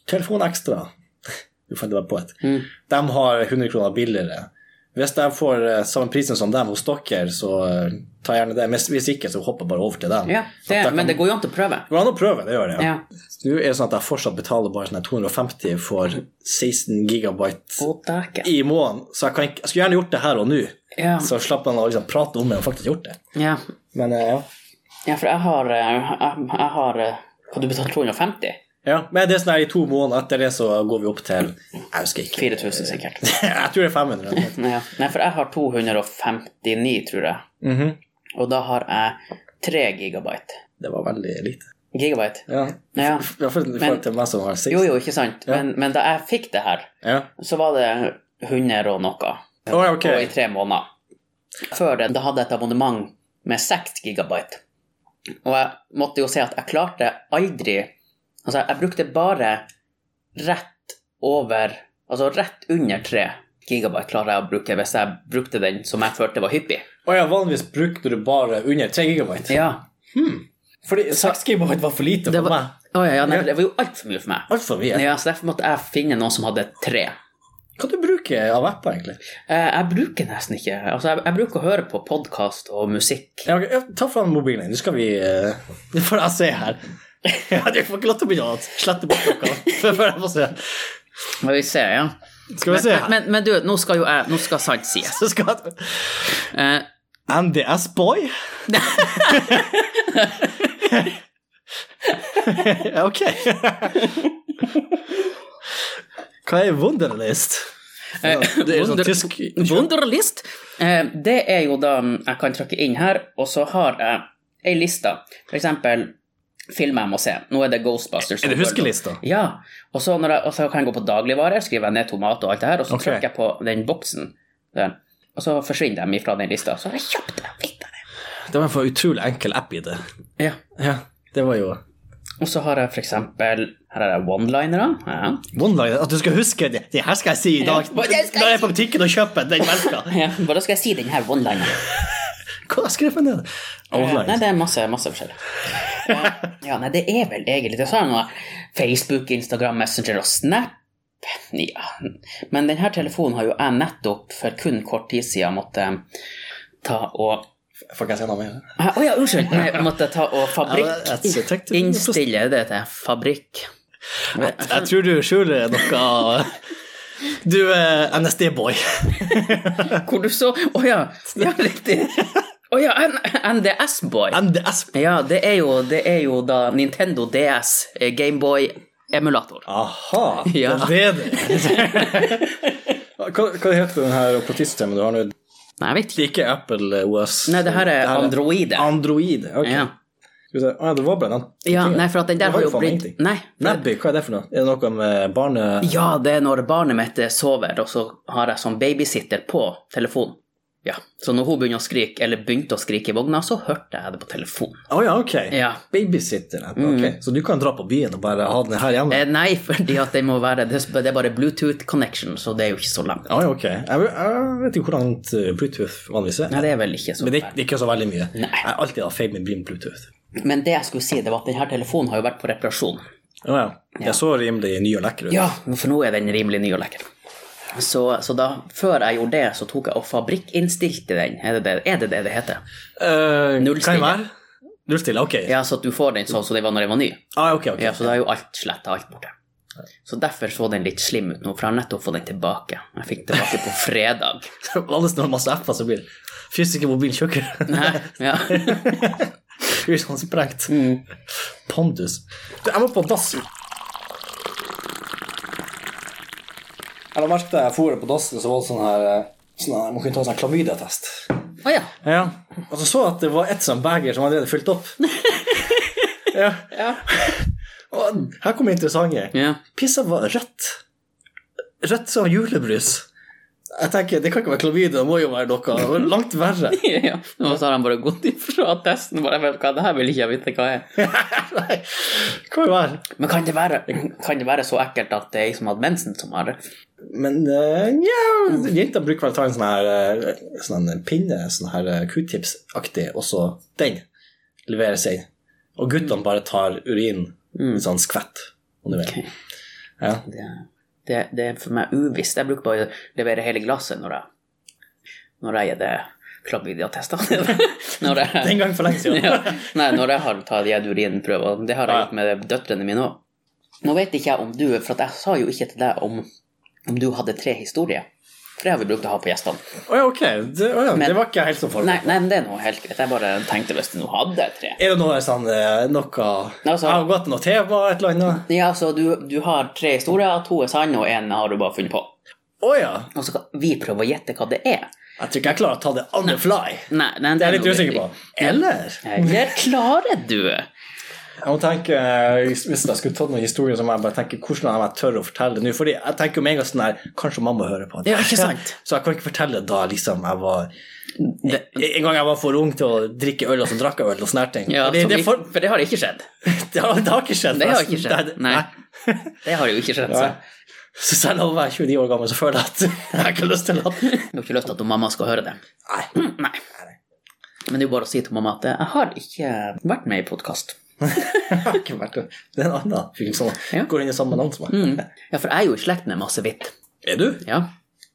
S2: telefon ekstra Du fant det bare på et.
S1: Mm.
S2: De har 100 kroner billigere. Hvis de får eh, samme prisen som dem hos dere, så eh, ta gjerne det. Men hvis ikke, så hopper jeg bare over til dem.
S1: Ja, det,
S2: At jeg
S1: men
S2: kan-
S1: det går jo an til å prøve.
S2: går an å prøve, det gjør det.
S1: Ja.
S2: Du er det sånn at jeg fortsatt betaler bare sånn her 250 for 16 gigabyte
S1: Å, dæken.
S2: i måneden, så jeg, kan ikke, jeg skulle gjerne gjort det her og nå.
S1: Ja.
S2: Så slapp han å liksom prate om det og faktisk gjort det.
S1: Ja.
S2: Men eh, ja.
S1: ja, for jeg har eh, Jeg, jeg har eh, Hva, du betalte 250?
S2: Ja, men det er sånn her i to måneder etter det så går vi opp til Jeg husker ikke.
S1: 4000, sikkert.
S2: jeg tror det er 500. eller noe.
S1: Ja. Nei, for jeg har 259, tror jeg.
S2: Mhm.
S1: Og da har jeg 3 gigabyte.
S2: Det var veldig lite.
S1: Gigabyte?
S2: Ja.
S1: Ja.
S2: I hvert fall i forhold til meg som har 60.
S1: Jo, jo, ikke sant. Men, men da jeg fikk det her,
S2: Ja.
S1: så var det 100 og noe.
S2: Å, ja, ok.
S1: Og i tre måneder. Før det da hadde jeg et abonnement med 6 gigabyte. Og jeg måtte jo si at jeg klarte aldri Altså, jeg brukte bare rett over Altså rett under 3 gigabyte klarer jeg å bruke hvis jeg brukte den som jeg følte var hyppig.
S2: Å ja, vanligvis brukte du bare under 3 gigabyte.
S1: Ja.
S2: Fordi 6 gigabyte var for lite
S1: Det
S2: for
S1: var,
S2: meg.
S1: Å, ja, ja, nei, det var jo altfor mye for meg.
S2: Altfor mye.
S1: Ja, så derfor måtte jeg finne noen som hadde tre.
S2: Hva du bruker av apper, egentlig?
S1: Eh, Jeg bruker nesten ikke Altså, jeg, jeg bruker å høre på podkast og musikk.
S2: Ja, ok, ja, ta fram mobilen din, nå skal vi eh, Det får jeg se her. ja, du får ikke lov til å begynne å slette bort noe. før- før jeg får se.
S1: Skal vi se, ja.
S2: Skal vi se her.
S1: Men, men du, nå skal jo jeg Nå skal sant sies.
S2: Så skal...
S1: Eh,
S2: NDS-boy? Ja, ok. Hva er Wunderlist? Det er sånn
S1: Eh, Wunder-
S2: tysk
S1: Wunderlist. Eh, Det er jo da mm, jeg kan trykke inn her, og så har jeg ei liste. For eksempel filmer jeg må se. Nå er det Ghostbusters.
S2: Er det huskelista?
S1: Ja. Og så, når jeg, og så kan jeg gå på dagligvarer, skriver jeg ned tomat og alt det her, og så
S2: Ok.
S1: trykker jeg på den boksen der. Og så forsvinner de ifra den lista. Så har jeg kjøpt det. Fikk det.
S2: Det var en for utrolig enkel app i det.
S1: Ja.
S2: Ja, det var jo
S1: Og så har jeg for eksempel Her er det one-linere. Ja.
S2: One-liner, At du skal huske det. Det her skal jeg si i dag.
S1: Ja, hva jeg skal
S2: Når jeg er på butikken og kjøper den melka.
S1: Ja, Hvordan skal jeg si den her one-lineren?
S2: Hva har jeg skrevet ned?
S1: Nei,
S2: Online.
S1: det er masse, masse forskjellig. Eh, Ja, nei, det er vel egentlig det samme. Facebook, Instagram, Messenger og Snap. Ja. Men denne telefonen har jo jeg nettopp for kun kort tid siden måtte eh, ta og Ah,
S2: Får ikke jeg si noe mer?
S1: Å ja, unnskyld. Jeg måtte ta og
S2: Ja, det er et
S1: fabrikk
S2: detektiv-
S1: innstille det til fabrikk.
S2: Jeg tror du skjuler noe Du er NSD-boy.
S1: Hvor du så Å ja, ja, riktig. Å ja, NDS-boy.
S2: NDS.
S1: Ja, det er jo, det er jo da Nintendo eh, DS Gameboy-emulator.
S2: Aha,
S1: Ja.
S2: det er det. hva, hva heter den her operatistsystemet du har nå?
S1: Nei, jeg vet ikke.
S2: Ikke Apple eh, OS.
S1: Nei, det her er Android.
S2: Android, ok.
S1: Ja.
S2: Skal vi se. Å ja, det var bare den.
S1: ja, nei, for at den der
S2: Det var
S1: har
S2: jo
S1: jo
S2: faen
S1: blitt
S2: ingenting.
S1: Nei.
S2: Nebby, hva er det for noe? Er det noe med barne...
S1: Ja, det er når barnet mitt sover, og så har jeg sånn babysitter på telefonen. Ja, Så når hun begynner å skrike, eller begynte å skrike i vogna, så hørte jeg det på telefonen.
S2: Å ja, ok.
S1: Ja. Mm.
S2: Babysitter. ja. Ok, så du kan dra på byen og bare ha den her hjemme?
S1: Eh, Nei, fordi at det må være Det er bare Bluetooth connection, så det er jo ikke så langt.
S2: Å ja, ok. Jeg, vet- jeg vet ikke hvordan eh, Bluetooth vanligvis er.
S1: Nei, det er vel ikke så
S2: Men det,
S1: fælt.
S2: det er ikke så veldig mye. Jeg har alltid hatt feil med min Bluetooth.
S1: Men det jeg skulle si, det var at denne telefonen har jo vært på reparasjon.
S2: Å ja. Jeg så rimelig ny og lekker ut.
S1: Ja, for nå er den rimelig ny og lekker. Så, så da, før jeg gjorde det, så tok jeg og fabrikkinnstilte den. Er det det er det, det, det heter?
S2: Eh,
S1: Null
S2: Kan
S1: stille.
S2: jeg være? Null stille, ok.
S1: Ja, så at du får den sånn som det var når den var ny.
S2: Ah, ok, ok.
S1: Ja, så da er jo alt sletta, alt borte. Så derfor så den litt slim ut nå, for jeg har nettopp fått den tilbake. Jeg fikk den tilbake på fredag.
S2: Alle som har masse apper som blir fysiske mobil tjukkere.
S1: Nei, ja.
S2: Blir sånn sprengt.
S1: Mm.
S2: Pandus. Du, jeg må på dass. Jeg la merke til jeg for på dassen, så var det sånn her eh, sånn her, Man kunne ta sånn klamydiatest.
S1: Å ja.
S2: Ja. Og så så jeg at det var et sånt beger som allerede fylt opp. ja.
S1: Ja.
S2: Og her kommer det interessante.
S1: ja.
S2: Pissa var rødt. Rødt som julebrus. Jeg tenker, Det kan ikke være klamydia, det må jo være noe det var langt verre.
S1: ja. Og så har han bare gått ifra testen, bare vet du hva, det her vil ikke jeg vite hva er.
S2: Nei, kan jo være.
S1: Men kan det være, kan det være så ekkelt at det er ei som hadde mensen som har det?
S2: Men eh, nja, jenter bruker vel å ta en sånn her eh, sånn en pinne, sånn her eh, q-tips-aktig, og så den leveres inn. Og guttene bare tar urin i sånn skvett, om du vil.
S1: Mm. Ok.
S2: Ja.
S1: Det, det, det er for meg uvisst. Jeg bruker bare å levere hele glasset når jeg, når jeg gir det klamydia-tester. når jeg,
S2: Den gang for lenge siden.
S1: ja, nei, når jeg har tatt gitt urinprøver. Det har jeg
S2: Ja.
S1: gjort med døtrene mine òg. Nå vet ikke jeg om du For at jeg sa jo ikke til deg om, om du hadde tre historier. For det har vi brukt å ha på gjestene.
S2: Å ja, ok. Det, å ja,
S1: Men-
S2: det var ikke jeg helt som forberedt.
S1: Nei, nei, men det er noe helt greit. Jeg bare tenkte hvis du nå hadde tre.
S2: Er det noe sånn eh, noe
S1: Altså-
S2: Jeg har gått til noe tema, et eller annet.
S1: Ja, så du, du har tre historier, to er sanne, og én har du bare funnet på.
S2: Å ja.
S1: Og så skal vi prøve å gjette hva det er.
S2: Jeg tror ikke jeg klarer å ta det on the fly.
S1: Nei, nei,
S2: Det er jeg litt
S1: noe
S2: usikker
S1: vi-
S2: på. Eller
S1: Eller klarer du?
S2: Jeg må tenke, eh, Hvis jeg skulle tatt noen historier, så må jeg bare tenke hvordan jeg tør å fortelle det nå. Fordi jeg tenker jo med en gang sånn her Kanskje mamma hører på. det.
S1: Ja, ikke sant?
S2: Så jeg kan ikke fortelle da liksom jeg var En gang jeg var for ung til å drikke øl, og så drakk jeg øl og sånne her ting.
S1: Ja,
S2: Fordi
S1: som
S2: det,
S1: vi-
S2: for,
S1: for det har ikke skjedd.
S2: det, har, det har ikke skjedd.
S1: Det har
S2: forresten.
S1: ikke skjedd.
S2: Det-
S1: Nei. Det har jo ikke skjedd. Så.
S2: Nei. Så selv om jeg er 29 år gammel, så føler jeg at jeg har ikke lyst til at
S1: Jeg har ikke lyst til at mamma skal høre det.
S2: Nei.
S1: Nei. Men det er jo bare å si til mamma at jeg har ikke vært med i podkast.
S2: Jeg har ikke vært det. Det er en annen fyr som
S1: Ja.
S2: går inn i samme navn som meg.
S1: Mm. Ja, for jeg er jo i slekt med masse hvitt.
S2: Er du?
S1: Ja.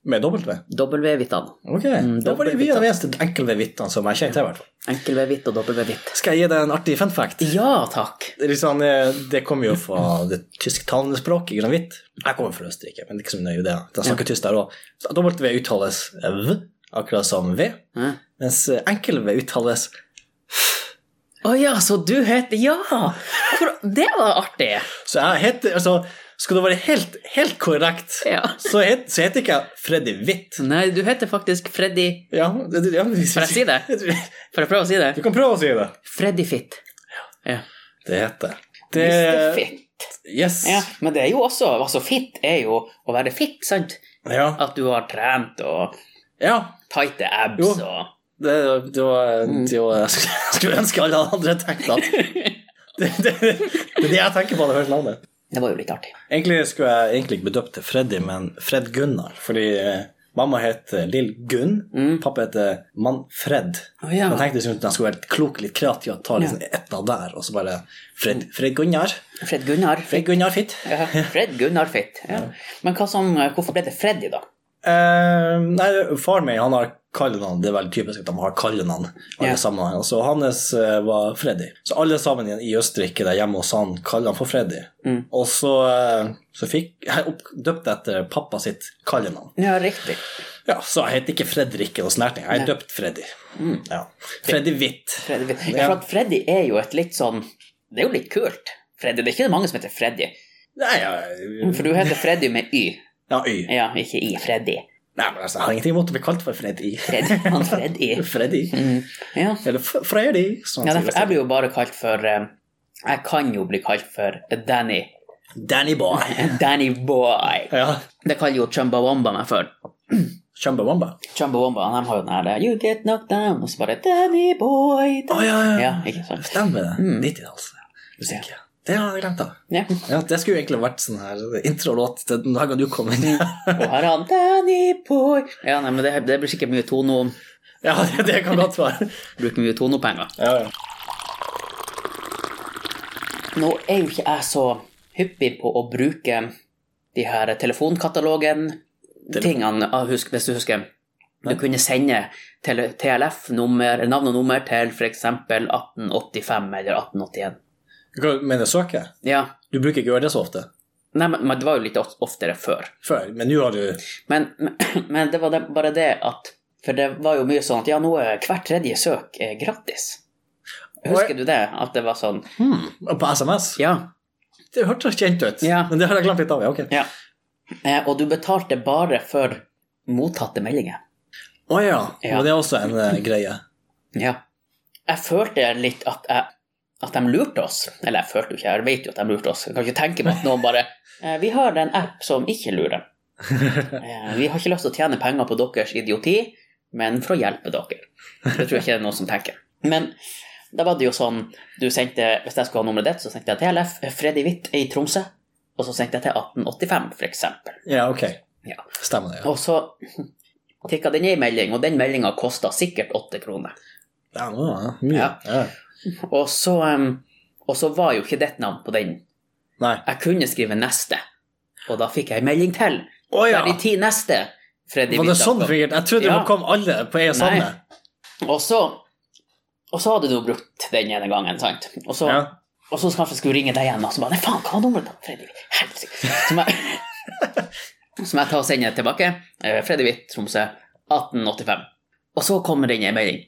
S2: Med dobbelt V?
S1: W-hvittene.
S2: Ok. da var det vi er den eneste enkel-V-vitene som jeg kjenner til, i hvert fall.
S1: Enkel-V-hvitt og W-hvitt.
S2: Skal jeg gi deg en artig fun fact?
S1: Ja takk.
S2: Det, er litt sånn, eh, det kommer jo fra det tysktalende språket, ikke sant? hvitt. Jeg kommer fra Østerrike, men det er ikke så nøye det. da. De snakker tysk der òg. W uttales V, akkurat som V,
S1: Hæ?
S2: mens enkel-V uttales
S1: Å ja, så du heter Ja! Hvor- Det var artig.
S2: Så jeg heter Altså, skal det være helt, helt korrekt,
S1: Ja.
S2: så, het, så heter ikke jeg Freddy Hvitt.
S1: Nei, du heter faktisk Freddy
S2: Ja, det, det- ja, hvis-
S1: Får jeg si det? Får jeg prøve å si
S2: Du
S1: det?
S2: kan prøve å si det.
S1: Freddy Fitt. Ja.
S2: Det heter
S1: Mr. Fitt.
S2: Yes.
S1: Ja, men det er jo også altså Fitt er jo å være fitt, sant?
S2: Ja.
S1: At du har trent og
S2: ja.
S1: tighte abs
S2: Jo.
S1: og
S2: Det, det var, det var jeg skulle- jeg skulle ønske alle andre tenkte at det, det, det, er det jeg tenker på når jeg hører navnet.
S1: Det var jo litt artig.
S2: Egentlig skulle jeg egentlig ikke bli døpt til Freddy, men Fred Gunnar. Fordi eh, mamma heter Lill Gunn, pappa heter Manfred.
S1: Å, ja.
S2: Jeg tenkte liksom at jeg skulle være litt klok, litt kreativ, og ta liksom ett av der, og så bare Fred, Fred Gunnar.
S1: Fred Gunnar
S2: Fred
S1: Fitt.
S2: Gunnar Fitt.
S1: Ja, Fred Gunnar Fitt. Ja. Men hva som, hvorfor ble det Freddy, da?
S2: Eh, nei, faren min, han har kallenavn. Det er veldig typisk at de har kallenavn, alle
S1: Ja.
S2: sammen. Altså, hans eh, var Freddy. Så alle sammen i- i Østerrike, der hjemme hos han, kaller han for Freddy.
S1: Mm.
S2: Og så, eh, så fikk jeg opp, døpt etter pappa sitt kallenavn.
S1: Ja, riktig.
S2: Ja, så jeg heter ikke Fredrik eller Snerting, jeg er døpt Freddy. Ja. Freddy Hvitt.
S1: Mm. Freddy Fitt. Ja, for at Freddy er jo et litt sånn Det er jo litt kult. Freddy, Det er ikke mange som heter Freddy.
S2: Nei, jeg,
S1: For du heter Freddy med Y.
S2: ja, Y.
S1: Ja, ikke I. Freddy.
S2: Nei, men altså, jeg har ingenting imot å bli kalt for Freddy.
S1: Freddy. Han Freddy. Mm.
S2: Freddy.
S1: Ja.
S2: Eller F- Freddy. Sånn
S1: Ja,
S2: sier
S1: derfor, jeg blir jo bare kalt for eh, Jeg kan jo bli kalt for Danny.
S2: Danny Boy.
S1: Danny Boy.
S2: Ja.
S1: Det kaller jo Chumbawamba meg for.
S2: Chumbawamba.
S1: Chumbawamba de har jo den her eh, You get knocked down, og så bare Danny Boy.
S2: Å,
S1: Danny.
S2: ja, ja.
S1: Ja, ikke sant. Mm.
S2: Stemmer det. 90-tallsmusikk. Ja. Det har jeg glemt, da.
S1: Ja.
S2: Ja, det skulle jo egentlig vært sånn her introlåt til den dagen du kom inn.
S1: Og her er han Danny Boy. Ja, nei, men det, det blir sikkert mye tono.
S2: ja, det, det kan godt være.
S1: Bruker mye tonopenger.
S2: Ja, ja.
S1: Nå er jo ikke jeg så hyppig på å bruke de her telefonkatalogen-tingene, ah, husk- hvis du husker. Du kunne sende tele- TLF-nummer, navn og nummer til f.eks. 1885 eller 1881.
S2: Hva mener du søker?
S1: Ja,
S2: Du bruker ikke å gjøre det så ofte.
S1: Nei, men, men det var jo litt of- oftere før.
S2: Før, men nå har du
S1: Men, men, men det var det, bare det at For det var jo mye sånn at ja, nå er hvert tredje søk er gratis. Husker du det? At det var sånn
S2: På SMS?
S1: Ja.
S2: Det hørtes kjent ut,
S1: Ja.
S2: men det har jeg glemt litt av. Ja, ok.
S1: ja. Eh, og du betalte bare for mottatte meldinger.
S2: Å ja.
S1: Ja.
S2: Men det er også en eh, greie.
S1: Ja. Jeg følte litt at, jeg, at de lurte oss. Eller jeg følte jo ikke, jeg vet jo at de lurte oss. Jeg kan ikke tenke meg at noen bare eh, Vi har en app som ikke lurer. Eh, vi har ikke lyst til å tjene penger på deres idioti, men for å hjelpe dere. Det tror jeg ikke det er noen som tenker. Men da var det jo sånn du sendte, Hvis jeg skulle ha nummeret ditt, så sendte jeg til LF Freddy Hvitt i Tromsø. Og så sendte jeg til 1885, f.eks.
S2: Ja, ok.
S1: Ja.
S2: Stemmer det. Ja.
S1: Og så tikka den i melding, og den meldinga kosta sikkert åtte kroner.
S2: Ja, nå, ja. Mye.
S1: Ja.
S2: Ja.
S1: Og så, um, og så var jo ikke ditt navn på den.
S2: Nei.
S1: Jeg kunne skrive neste, og da fikk jeg en melding til.
S2: Å ja!
S1: Der de ti neste, Freddy
S2: Var det
S1: Vidal
S2: sånn
S1: kom.
S2: det fungerte? Jeg trodde det
S1: Ja.
S2: var- kom alle på en og samme.
S1: Og så, og så hadde du brukt den ene gangen, sant? Og så,
S2: Ja.
S1: og så kanskje jeg skulle ringe deg igjen, og så bare Nei, faen, hva var nummeret ditt, Freddy? Helsike. Som jeg, som jeg tar og sender tilbake. eh, Freddy Hvitt, Tromsø, 1885. Og så kommer den en melding.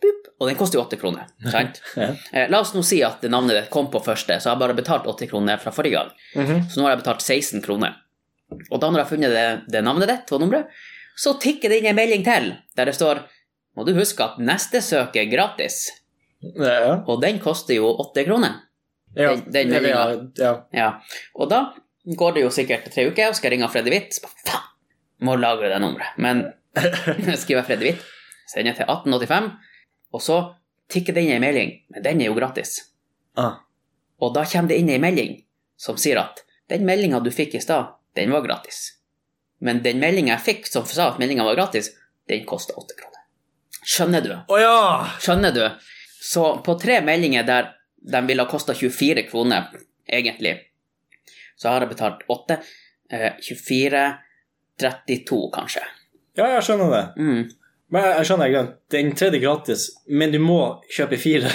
S1: Bup, og den koster jo åtte kroner, sant?
S2: Ja.
S1: Eh, La oss nå si at navnet ditt kom på første, så jeg har bare betalt 80 kroner fra forrige gang.
S2: Mhm.
S1: Så nå har jeg betalt 16 kroner. Og da når jeg har funnet det, det navnet ditt og nummeret, så tikker det inn en melding til der det står Må du huske at neste søk er gratis,
S2: Ja.
S1: og den koster jo 8 kroner.
S2: Ja.
S1: Den- den
S2: Ja, ja, ja.
S1: Ja. Og da går det jo sikkert tre uker, og skal jeg ringe Freddy Hvitt. så bare, Faen! Må lagre det nummeret. Men skriver jeg Freddy Hvitt, sender jeg til 1885, og så tikker det inn en melding. Men den er jo gratis.
S2: Ah.
S1: Og da kommer det inn ei melding som sier at den meldinga du fikk i stad, den var gratis. Men den meldinga jeg fikk som sa at meldinga var gratis, den kosta åtte kroner. Skjønner du?
S2: Å ja!
S1: Skjønner du? Så på tre meldinger der de ville ha kosta 24 kroner, egentlig, så har jeg betalt 8, eh, 24, 32 kanskje.
S2: Ja, jeg skjønner det.
S1: Mm.
S2: Men jeg, jeg skjønner, jeg glemt. Den tredje er gratis, men du må kjøpe fire.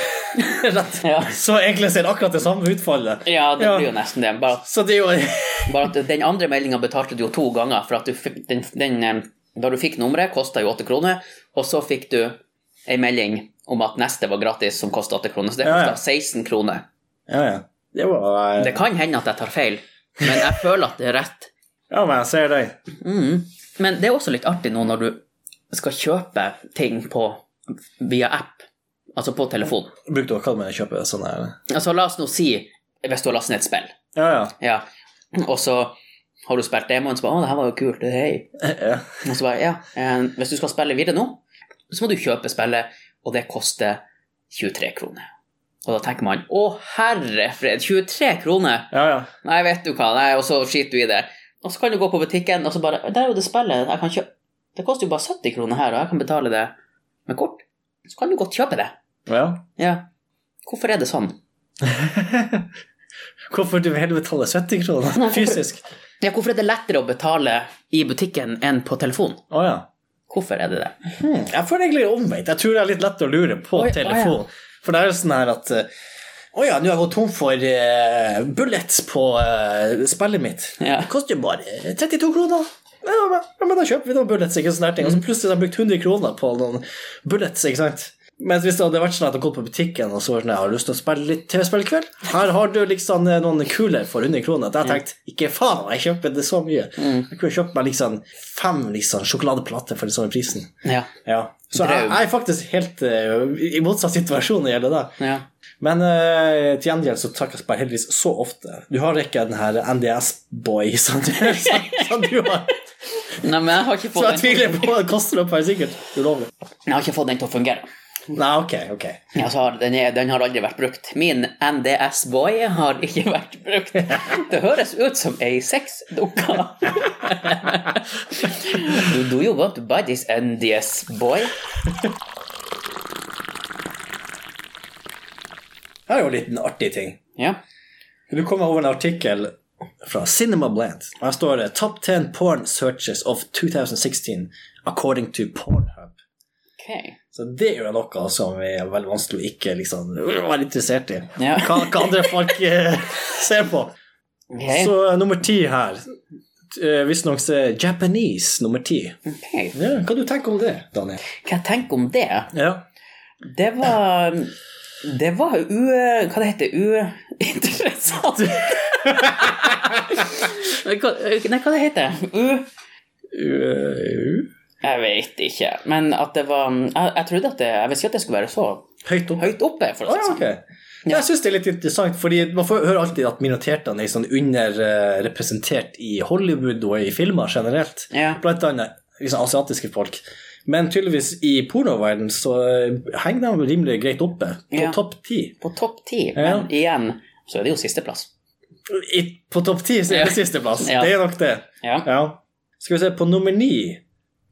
S2: Rett.
S1: Ja.
S2: Så egentlig ser det akkurat det samme utfallet.
S1: ja, det
S2: Ja.
S1: blir jo nesten det. Bare at
S2: Så det er jo
S1: Bare at den andre meldinga betalte du jo to ganger, for at du fikk den, den eh, Da du fikk nummeret, kosta jo åtte kroner, og så fikk du ei melding om at neste var gratis, som kosta åtte kroner. Så det
S2: Ja, ja.
S1: kosta 16 kroner.
S2: Ja, ja. Det var eh,
S1: Det kan hende at jeg tar feil, men jeg føler at det er rett.
S2: Ja, men jeg ser deg.
S1: Mm. Men det er også litt artig nå når du skal kjøpe ting på, via app, altså på telefon.
S2: Brukte å kalle meg å kjøpe sånn her.
S1: Altså la oss nå si, hvis du har lastet ned et spill,
S2: Ja,
S1: ja, og så har du spilt demoen, så bare 'Å, det her var jo kult', hei.
S2: ja. ja.
S1: Og så bare, ja, eh, hvis du skal spille videre nå, så må du kjøpe spillet, og det koster 23 kroner. Og da tenker man å herre fred, 23 kroner!
S2: Ja, ja.
S1: Nei, vet du hva, nei, og så skiter du i det. Og så kan du gå på butikken, og så bare Der er jo det spillet, jeg kan kjøpe Det koster jo bare 70 kroner her, og jeg kan betale det med kort. Så kan du godt kjøpe det.
S2: ja.
S1: Ja. Hvorfor er det sånn?
S2: Hvorfor du heller betaler 70 kroner fysisk?
S1: Ja, hvorfor er det lettere å betale i butikken enn på telefon?
S2: Å ja.
S1: Hvorfor er det det?
S2: Hmm, Jeg føler egentlig omvendt. Jeg tror det er litt lett å lure på
S1: Oi, å
S2: telefon. For det er jo sånn her at eh, Å ja, nå har jeg gått tom for eh, bullets på eh, spillet mitt.
S1: Ja.
S2: Det koster jo bare 32 kroner. Ja, men, ja, men da kjøper vi noen bullets, ikke sånne her ting. Og
S1: Mm.
S2: så plutselig har jeg brukt 100 kroner på noen bullets, ikke sant. Mens hvis det hadde vært sånn at jeg hadde gått på butikken og så var det sånn, jeg har lyst til å spille litt TV-spill i kveld, her har du liksom eh, noen kuler for 100 kroner. Da har jeg tenkt, ikke faen, jeg kjøper det så mye.
S1: Mm.
S2: Jeg kunne kjøpt meg liksom fem liksom, sjokoladeplater for den samme prisen.
S1: Ja.
S2: Ja. Så jeg,
S1: Drøm.
S2: jeg er faktisk helt eh, i motsatt situasjon når det gjelder det.
S1: ja.
S2: Men eh, til gjengjeld så takkes bare heldigvis så ofte. Du har ikke den her NDS-boy som, du- som, som du har.
S1: Nei, men jeg har ikke
S2: Så jeg
S1: fått den,
S2: tviler på at koster opp her sikkert ulovlig.
S1: jeg har ikke fått den til å fungere.
S2: Nei, ok, ok.
S1: Altså, har- den, er, den har aldri vært brukt. Min NDS-boy har ikke vært brukt. Det høres ut som ei sexdukke. Do, do you want to buy this NDS-boy?
S2: Her er jo en liten artig ting.
S1: Ja.
S2: Du kommer over en artikkel fra Cinema Bland. Og her står det 'Top 10 porn searches of 2016 according to Pornhub'.
S1: Ok.
S2: Så det er jo noe som er veldig vanskelig å ikke liksom være interessert i.
S1: Ja.
S2: Hva, hva andre folk eh, ser på.
S1: Ok.
S2: Så eh, nummer ti her. Eh, Visstnok så er Japanese nummer ti.
S1: ok.
S2: Ja, hva du tenker om det, Daniel?
S1: Hva jeg tenker om det?
S2: Ja.
S1: Det var Det var u... Hva det heter Uinteressant. Hva- Nei, hva det heter U...
S2: Uh,
S1: Jeg vet ikke. Men at det var Jeg, jeg trodde at det Jeg visste ikke at det skulle være så
S2: høyt opp.
S1: høyt oppe. for
S2: Å
S1: å si
S2: ja,
S1: det sånn.
S2: ok. Ja, Jeg syns det er litt interessant, fordi man får hører alltid at minoritetene er sånn underrepresentert i Hollywood og i filmer generelt.
S1: Ja.
S2: Blant annet liksom, asiatiske folk. Men tydeligvis i pornoverden så eh, henger de rimelig greit oppe, på
S1: Ja.
S2: topp ti.
S1: På topp ti,
S2: Ja.
S1: men igjen så er det jo sisteplass.
S2: I, på topp ti så er
S1: Ja.
S2: det sisteplass,
S1: Ja.
S2: det er nok det.
S1: Ja.
S2: Ja. Skal vi se, på nummer ni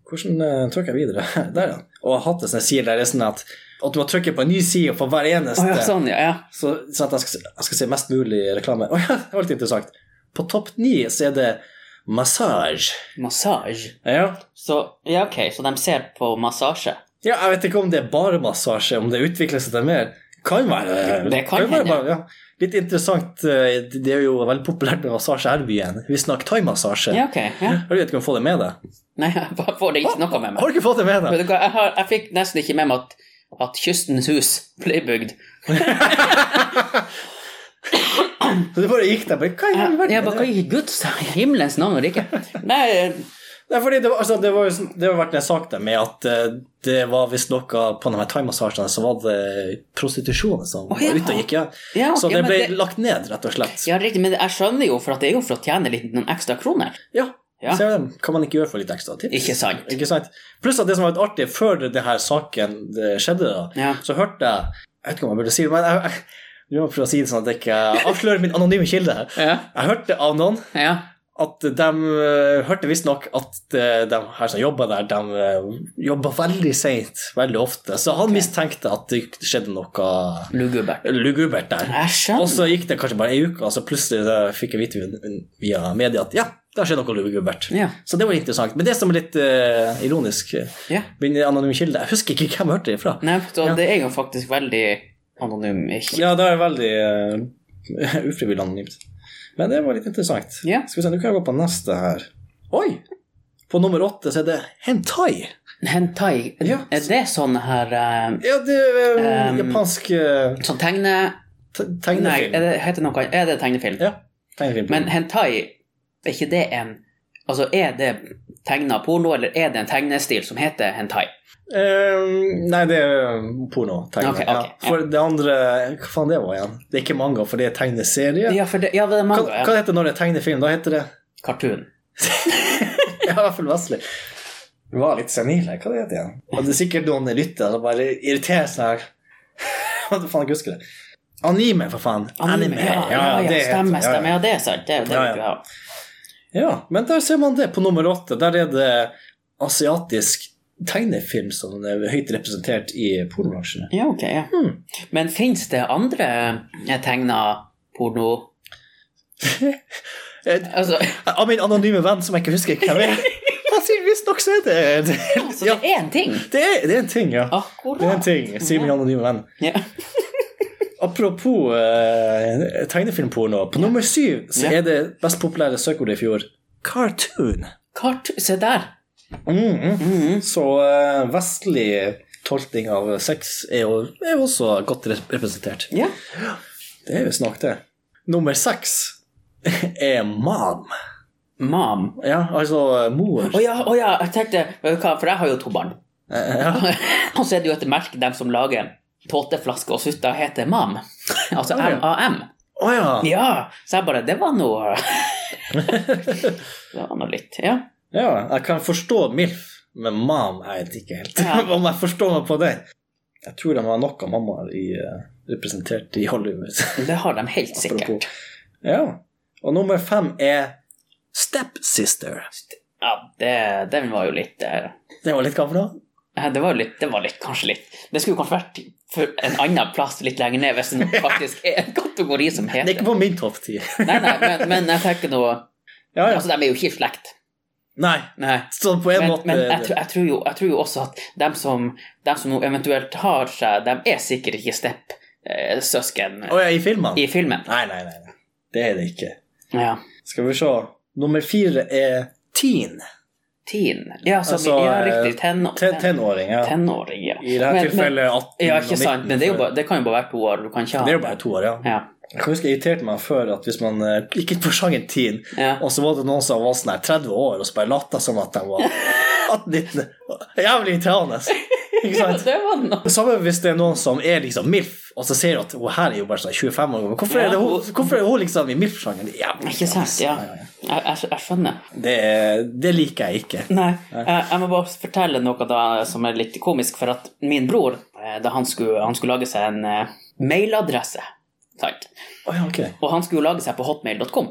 S2: Hvordan uh, trykker jeg videre? Der, ja. Og jeg har hatt en sånn side der det er sånn at, at du må trykke på en ny side for hver eneste.
S1: Å ja, sånn, ja. ja.
S2: Så, så at jeg skal, jeg skal se mest mulig reklame. Å ja, det var litt interessant. På topp ni så er det massasje.
S1: Massasje.
S2: Ja.
S1: Så ja, ok, så de ser på massasje.
S2: ja, jeg vet ikke om det er bare massasje, om det utvikler seg til mer. Kan være.
S1: Det kan
S2: være
S1: hende.
S2: bare- ja. Litt interessant, eh, det er jo veldig populært med massasje her i byen. Vi snakker thaimassasje.
S1: Ja, ok. Ja.
S2: Har du vet ikke om du får det med deg?
S1: Nei, jeg bare får det ikke noe med meg.
S2: Har du ikke fått det med deg?
S1: Vet du hva, jeg, har, jeg fikk nesten ikke med meg at, at Kystens hus ble bygd.
S2: Så du bare gikk der bare, Hva i all verden
S1: Jeg
S2: er
S1: bare, hva i Guds himmelens navn og rike? Nei,
S2: det er fordi det, var, altså, det, var, jo sånn- det har vært en sak der med at eh, det var visst noe på de her thaimassasjene så var det prostitusjon som var
S1: ja.
S2: ute og gikk. Ja.
S1: Ja,
S2: så
S1: ja,
S2: det
S1: men
S2: ble
S1: det-
S2: lagt ned, rett og slett.
S1: ja, riktig, men jeg skjønner jo, for at det er jo for å tjene litt noen ekstra kroner.
S2: Ja.
S1: Ja.
S2: Ser du det? Kan man ikke gjøre for litt ekstra tips?
S1: Ikke sant?
S2: Ikke sant? Pluss at det som var litt artig før det her saken det skjedde, da,
S1: Ja.
S2: så hørte jeg Jeg vet ikke om jeg burde si det, men jeg, jeg, jeg må prøve å si det sånn at jeg ikke avslører min anonyme kilde her.
S1: Ja.
S2: Jeg hørte av noen
S1: ja.
S2: at de eh, hørte visstnok at eh, de her som jobba der, de eh, jobba veldig seint, veldig ofte. Så han mistenkte at det skjedde noe
S1: Lugubert.
S2: lugubert der.
S1: Jeg
S2: Og
S1: skjønner.
S2: så gikk det kanskje bare ei uke, og så plutselig eh, fikk jeg vite via- via media at ja, det har skjedd noe lugubert.
S1: Ja.
S2: Så det var interessant. Men det som er litt eh, ironisk, eh,
S1: ja.
S2: min anonyme kilde Jeg husker ikke hvem jeg hørte det fra.
S1: Nei, så det er jo faktisk veldig anonym. Ikke?
S2: Ja, det er veldig eh, ufrivillig anonymt. Men det var litt interessant.
S1: Ja.
S2: Skal vi se, nå kan jeg gå på neste her. Oi! På nummer åtte så er det hentai.
S1: Hentai,
S2: Ja.
S1: er det sånn her eh,
S2: Ja, det er eh,
S1: Um,
S2: japansk eh,
S1: Sånn tegne...
S2: te-
S1: Nei,
S2: tegnefilm.
S1: er det, heter noe, er det tegnefilm?
S2: Ja, tegnefilm.
S1: Men hentai, er ikke det en Altså, er det tegna porno, eller er det en tegnestil som heter hentai?
S2: Eh, nei, det er porno. Tegne.
S1: Ok, ok,
S2: ja. For det andre Hva faen det var igjen? Det er ikke manga, for det er tegneserie.
S1: Ja, for det, ja, det er
S2: Hva,
S1: manga.
S2: hva
S1: ja.
S2: heter det når det er tegnefilm? Da heter det
S1: Cartoon.
S2: Ja, i hvert fall Wesley. Du var litt senil her. Hva det heter det igjen? Og det er sikkert noen lyttere som bare irriterer seg her. Hva faen, jeg husker det. Anime, for faen. Anime.
S1: Ja, ja, ja,
S2: det heter-
S1: stemmer,
S2: ja, ja.
S1: stemmer. Ja, det er sant. Det er jo det
S2: Ja,
S1: vi
S2: ja.
S1: vil ha.
S2: Ja, men der ser man det på nummer åtte. Der er det asiatisk tegnefilm som er høyt representert i pornobransjen.
S1: Ja, ok, ja.
S2: Hmm.
S1: Men fins det andre eh, tegna porno
S2: Eh,
S1: Altså,
S2: Av min anonyme venn som jeg ikke husker hvem er. Han sier visstnok så er det det,
S1: så
S2: ja,
S1: altså, det er en ting.
S2: det, er, det er en ting, ja.
S1: Akkurat.
S2: Det er en ting, sier min anonyme venn.
S1: Ja.
S2: Apropos eh, tegnefilmporno. På nummer syv så
S1: Ja.
S2: er det best populære søkeordet i fjor cartoon.
S1: Kart, se der.
S2: Mm.
S1: Mhm.
S2: Så eh, vestlig tolkning av sex er jo, er jo også godt rep- representert.
S1: Ja.
S2: Det er jo snakk det. Nummer seks er mam.
S1: Mam.
S2: Ja, altså mor.
S1: Å ja, å ja, jeg tenkte vet du hva, For jeg har jo to barn.
S2: Eh, Ja.
S1: Og så er det jo et merke, dem som lager tåteflasker og sutter, heter MAM. Altså
S2: Å, ja.
S1: MAM.
S2: Å ja.
S1: Ja! Så jeg bare Det var noe Det var nå litt, ja.
S2: ja. Jeg kan forstå MILF, men mam er jeg ikke helt
S1: Ja.
S2: om jeg forstår meg på det. Jeg tror de har nok av mammaer i, eh, representert i Hollywood.
S1: Det har de helt sikkert.
S2: Apropos. Ja. Og nummer fem er stepsister.
S1: Ja, det, det var jo litt eh,
S2: Det var litt hva for noe?
S1: eh, Det var jo litt, det var litt, kanskje litt Det skulle kanskje vært for en annen plass litt lenger ned, hvis det faktisk er en kategori som
S2: Det er
S1: heter
S2: ikke på min topp ti.
S1: Nei, nei, men, men jeg tenker nå
S2: Ja, ja.
S1: Altså, de er jo ikke i slekt.
S2: Nei,
S1: Nei.
S2: så på en
S1: Men,
S2: måte
S1: men jeg, tror, jeg, tror jo, jeg tror jo også at dem som, dem som nå eventuelt har seg, dem er sikkert ikke Stepp-søsken
S2: Å ja, i filmene?
S1: i filmen.
S2: Nei, nei, nei, nei. Det er det ikke.
S1: Ja.
S2: Skal vi se. Nummer fire er teen.
S1: Teen. Ja, som
S2: Altså,
S1: ja,
S2: eh,
S1: riktig. Tenår.
S2: Ten tenåring, ja.
S1: Tenåring, ja.
S2: I dette tilfellet 18
S1: Men, ja,
S2: og
S1: ikke sant.
S2: 19,
S1: Men det, er jo
S2: for-
S1: bare, det kan jo bare være to år. Du kan ikke ha
S2: Det er jo bare to år, ja.
S1: Ja.
S2: Jeg kan huske jeg irriterte meg før at hvis man eh, gikk inn på sjangeren teen,
S1: ja.
S2: og så var det noen som var sånn her 30 år, og så bare lata som at de var 18-19 Jævlig irriterende. Ikke
S1: Ja,
S2: sant?
S1: det var noe.
S2: Det samme hvis det er noen som er liksom MILF, og så ser du at hun her er jo bare sånn 25 år gammel. Hvorfor, er det hun- hvorfor er hun liksom i MILF-sjangeren? Jævlig
S1: Ikke sant, ja. Jeg, jeg, jeg skjønner.
S2: Det, det liker jeg ikke.
S1: Nei, jeg, jeg må bare fortelle noe da som er litt komisk, for at min bror, eh, da han skulle, han skulle lage seg en eh, mailadresse, sant?
S2: Å ja, ok.
S1: Og han skulle jo lage seg på hotmail.com.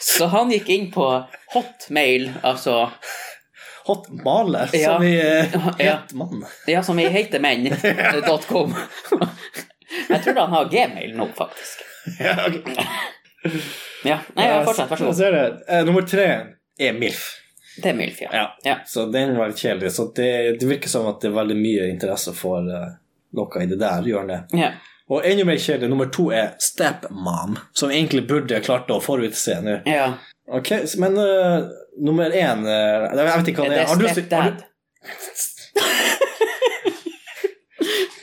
S1: Så han gikk inn på hotmail, altså
S2: Hot maler,
S1: Ja.
S2: som i eh,
S1: Ja.
S2: het mann.
S1: Ja, som i heitemenn.com. Jeg tror han har gmail nå, faktisk.
S2: Ja, ok.
S1: Ja, nei, ja, fortsett, vær så god.
S2: Så er det, eh, nummer tre er MILF.
S1: Det er Milf, ja.
S2: Ja.
S1: ja.
S2: Så den var litt kjedelig. Så det, det virker som at det er veldig mye interesse for eh, noe i det der hjørnet.
S1: ja.
S2: Og enda mer kjedelig, nummer to er Stepmom, som egentlig burde jeg klart å forutse nå.
S1: ja.
S2: Ok, s- men eh, nummer én eh, Jeg vet ikke hva
S1: Er
S2: det
S1: det
S2: er. Har du- har du-
S1: stepdad?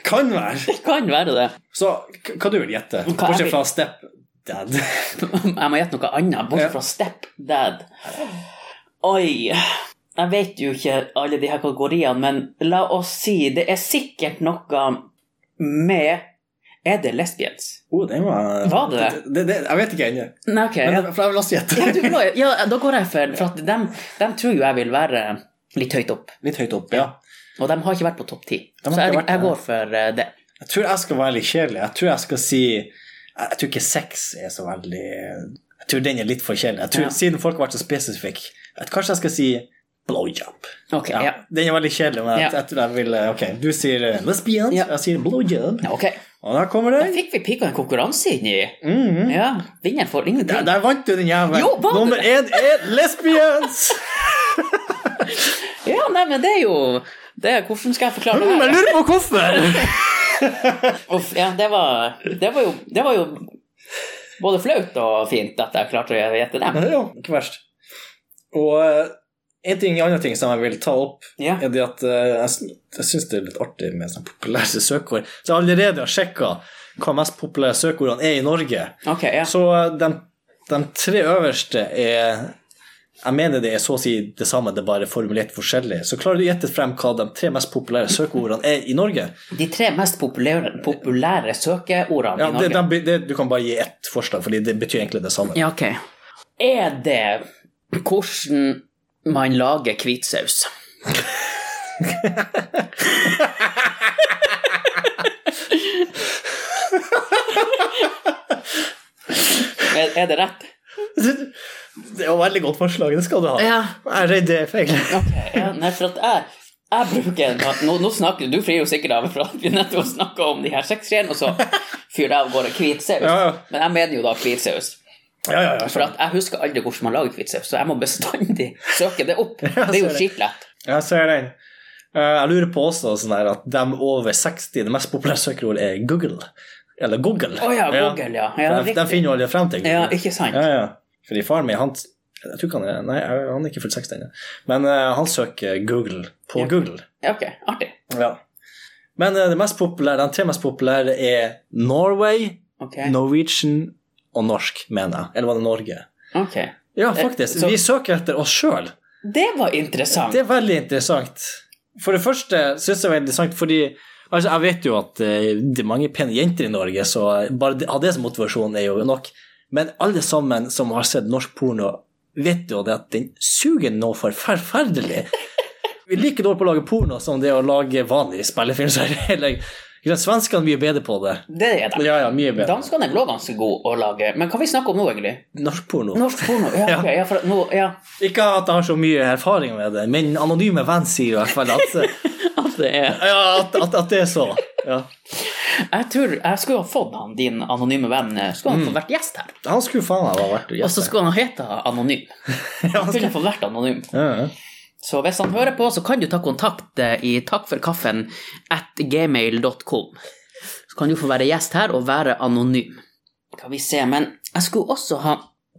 S2: Kan være.
S1: Det kan være det.
S2: Så k- hva du vil gjette?
S1: Hva er
S2: Bortsett
S1: vi-
S2: fra Stepdad.
S1: Jeg må gjette noe annet,
S2: Ja.
S1: bortsett fra stepdad. Oi Jeg vet jo ikke alle de her kategoriene, men la oss si det er sikkert noe med Er det lesbians?
S2: Oh, den var
S1: Var det det?
S2: det, det? Jeg vet ikke ennå.
S1: Nei, ok.
S2: Men
S1: Ja.
S2: for jeg vil også
S1: Ja,
S2: gjette.
S1: du, må- ja, da går jeg for For at dem, dem tror jo jeg vil være litt høyt opp.
S2: Litt høyt opp, ja.
S1: Og de har ikke vært på topp ti.
S2: De har
S1: Så jeg,
S2: ikke vært
S1: jeg
S2: det.
S1: går for eh, det.
S2: Jeg tror jeg skal være litt kjedelig. Jeg tror jeg skal si Jeg jeg tror ikke sex er så veldig Jeg tror den er litt for kjedelig. Jeg tror,
S1: Ja.
S2: Siden folk har vært så spesifikke, kanskje jeg skal si blowjob.
S1: Ok,
S2: Ja,
S1: ja.
S2: Den er veldig kjedelig, men jeg,
S1: Ja.
S2: jeg tror jeg vil Ok, du sier eh, lesbians,
S1: Ja.
S2: jeg sier blowjob.
S1: Ja, Ok,
S2: Og der kommer
S1: Da
S2: den.
S1: fikk vi pika en konkurranse inn i.
S2: Mhm.
S1: Ja, vinneren får
S2: Der,
S1: ingenting.
S2: der vant du den jævelen.
S1: Jo, vant du
S2: Nummer én er lesbians!
S1: Ja, nei, men det er jo det er, Hvordan skal jeg forklare
S2: Mm,
S1: det
S2: jeg
S1: her?
S2: lurer på hvorfor!
S1: Uff, ja, det var, det var jo Det var jo både flaut og fint at jeg klarte å gjette dem.
S2: Ja, ikke verst. Og eh, en ting, en annen ting som jeg vil ta opp,
S1: Ja.
S2: er det at eh, jeg, syn- jeg syns det er litt artig med sånne populære søkeord. Så jeg allerede har sjekka hva mest populære søkeordene er i Norge.
S1: Ok, ja.
S2: Så eh, de, de tre øverste er jeg mener det er så å si det samme, det er bare formulert forskjellig. Så klarer du å gjette frem hva de tre mest populære søkeordene er i Norge?
S1: De tre mest populære, populære søkeordene
S2: Ja,
S1: i
S2: det,
S1: Norge.
S2: de- det, du kan bare gi ett forslag, fordi det betyr egentlig det samme.
S1: Ja, ok. Er det hvordan man lager hvitsaus? Er, er det rett?
S2: Det var veldig godt forslag, det skal du ha.
S1: Ja.
S2: Jeg er redd det er feil.
S1: Ok, ja, nei, for at jeg, jeg bruker nå, nå snakker du, du frir jo sikkert av for at vi nettopp snakka om de her sexskjeene, og så fyrer jeg av gårde hvitsaus.
S2: Ja, ja.
S1: Men jeg mener jo da hvitsaus.
S2: Ja, ja, ja.
S1: For at jeg husker aldri hvordan man lager hvitsaus, så jeg må bestandig søke det opp. Det
S2: Ja,
S1: er jo
S2: ser jeg.
S1: skitlett.
S2: Jeg ser den. Eh, Jeg lurer på også sånn her at dem over 60, det mest populære søkeordet er Google. Eller Google.
S1: Å ja, Google, ja. Ja,
S2: de, de
S1: riktig.
S2: finner jo aldri frem til Google.
S1: Ja, ikke sant?
S2: Ja, ja. Fordi faren min, han jeg tror ikke han er, Nei, jeg- han er ikke fullt 60 ennå. Men eh, han søker Google
S1: Ja.
S2: på Google.
S1: Ja, ok, artig.
S2: Ja. Men eh, det mest populære, de tre mest populære er Norway,
S1: Ok.
S2: Norwegian og norsk, mener jeg. Eller var det Norge?
S1: ok.
S2: Ja, faktisk.
S1: Eh, så-
S2: Vi søker etter oss sjøl.
S1: Det var interessant.
S2: Det er veldig interessant. For det første syns jeg det er veldig interessant fordi altså, jeg vet jo at eh, det er mange pene jenter i Norge, så bare det, ha det som motivasjon er jo nok. Men alle sammen som har sett norsk porno, vet jo det at den suger noe for forferdelig. Vi er like dårlig på å lage porno som det å lage vanlig spillefilm. så er det heller- Ikke sant, Svenskene er mye bedre på det.
S1: Det er det.
S2: Ja, ja, mye bedre.
S1: Danskene er vel også ganske gode å lage, men hva vi snakker om nå, egentlig?
S2: Norsk porno.
S1: Norsk porno, ja, ok, ja, for at nå, ja.
S2: Ikke at jeg har så mye erfaring med det, men anonyme venn sier jo i hvert fall at
S1: At det er...
S2: Ja, at, at, at det er så. Ja.
S1: Jeg tror jeg skulle ha fått han, din anonyme venn, eh, skulle han få vært gjest her.
S2: Han skulle faen meg ha vært
S1: Og så
S2: gjest.
S1: skulle han hete Anonym. Han kunne få vært anonym.
S2: Ja, ja.
S1: Så hvis han hører på, så kan du ta kontakt eh, i takkforkaffen at gmail.com. Så kan du få være gjest her og være anonym. Skal vi se, men jeg skulle også ha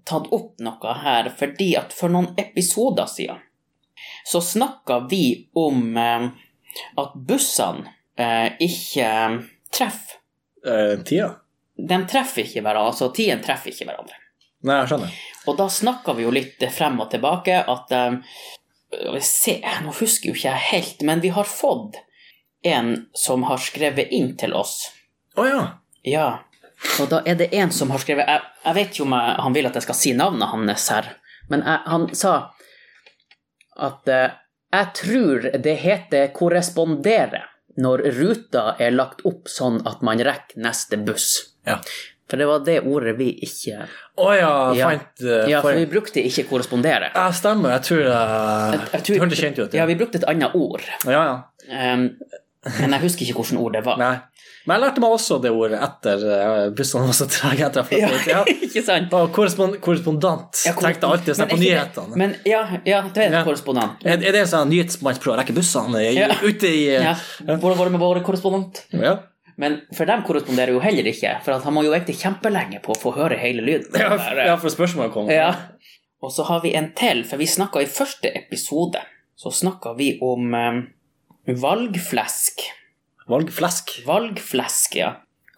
S1: tatt opp noe her, fordi at for noen episoder siden så snakka vi om eh, at bussene eh, ikke eh, treffer.
S2: Eh, tida?
S1: De treffer ikke hverandre, altså tiden treffer ikke hverandre.
S2: Nei, jeg skjønner.
S1: Og da snakka vi jo litt frem og tilbake at eh, skal vi Se, nå husker jo ikke jeg helt, men vi har fått en som har skrevet inn til oss.
S2: Å ja.
S1: Ja. Og da er det en som har skrevet Jeg, jeg vet jo om jeg, han vil at jeg skal si navnet hans her, men jeg, han sa at eh, jeg tror det heter korrespondere når ruta er lagt opp sånn at man rekker neste buss.
S2: Ja.
S1: For det var det ordet vi ikke
S2: Å ja,
S1: Ja.
S2: fant eh,
S1: Ja, for
S2: for-
S1: vi brukte ikke korrespondere.
S2: Ja, stemmer. Jeg tror jeg,
S1: Jeg tror-
S2: Det hørtes kjent ut.
S1: Ja, vi brukte et annet ord.
S2: ja, ja.
S1: Ehm, men jeg husker ikke hvilket ord det var.
S2: Nei. Men jeg lærte meg også det ordet etter eh, bussene var så trege etter jeg
S1: Ja,
S2: flyttet ut. Ja.
S1: ikke sant?
S2: Og korrespond korrespondent
S1: Ja, korrespondent.
S2: tenkte alltid
S1: Men
S2: sånn på
S1: ikke-
S2: nyhetene.
S1: Men ja, ja det er en
S2: Ja.
S1: korrespondent.
S2: Er, er det en sånn nyhetsmann som prøver å rekke bussene i-
S1: Ja.
S2: ute i eh,
S1: Ja. Hvordan var det med våre korrespondent?
S2: ja.
S1: Men for dem korresponderer jo heller ikke, for at han må jo vente kjempelenge på å få høre hele lyden.
S2: Ja, for- ja, for spørsmålet kom.
S1: Ja. Og så har vi en til, for vi snakka i første episode, så snakka vi om ehm, valgflesk.
S2: Valgflesk.
S1: Valgflesk, ja.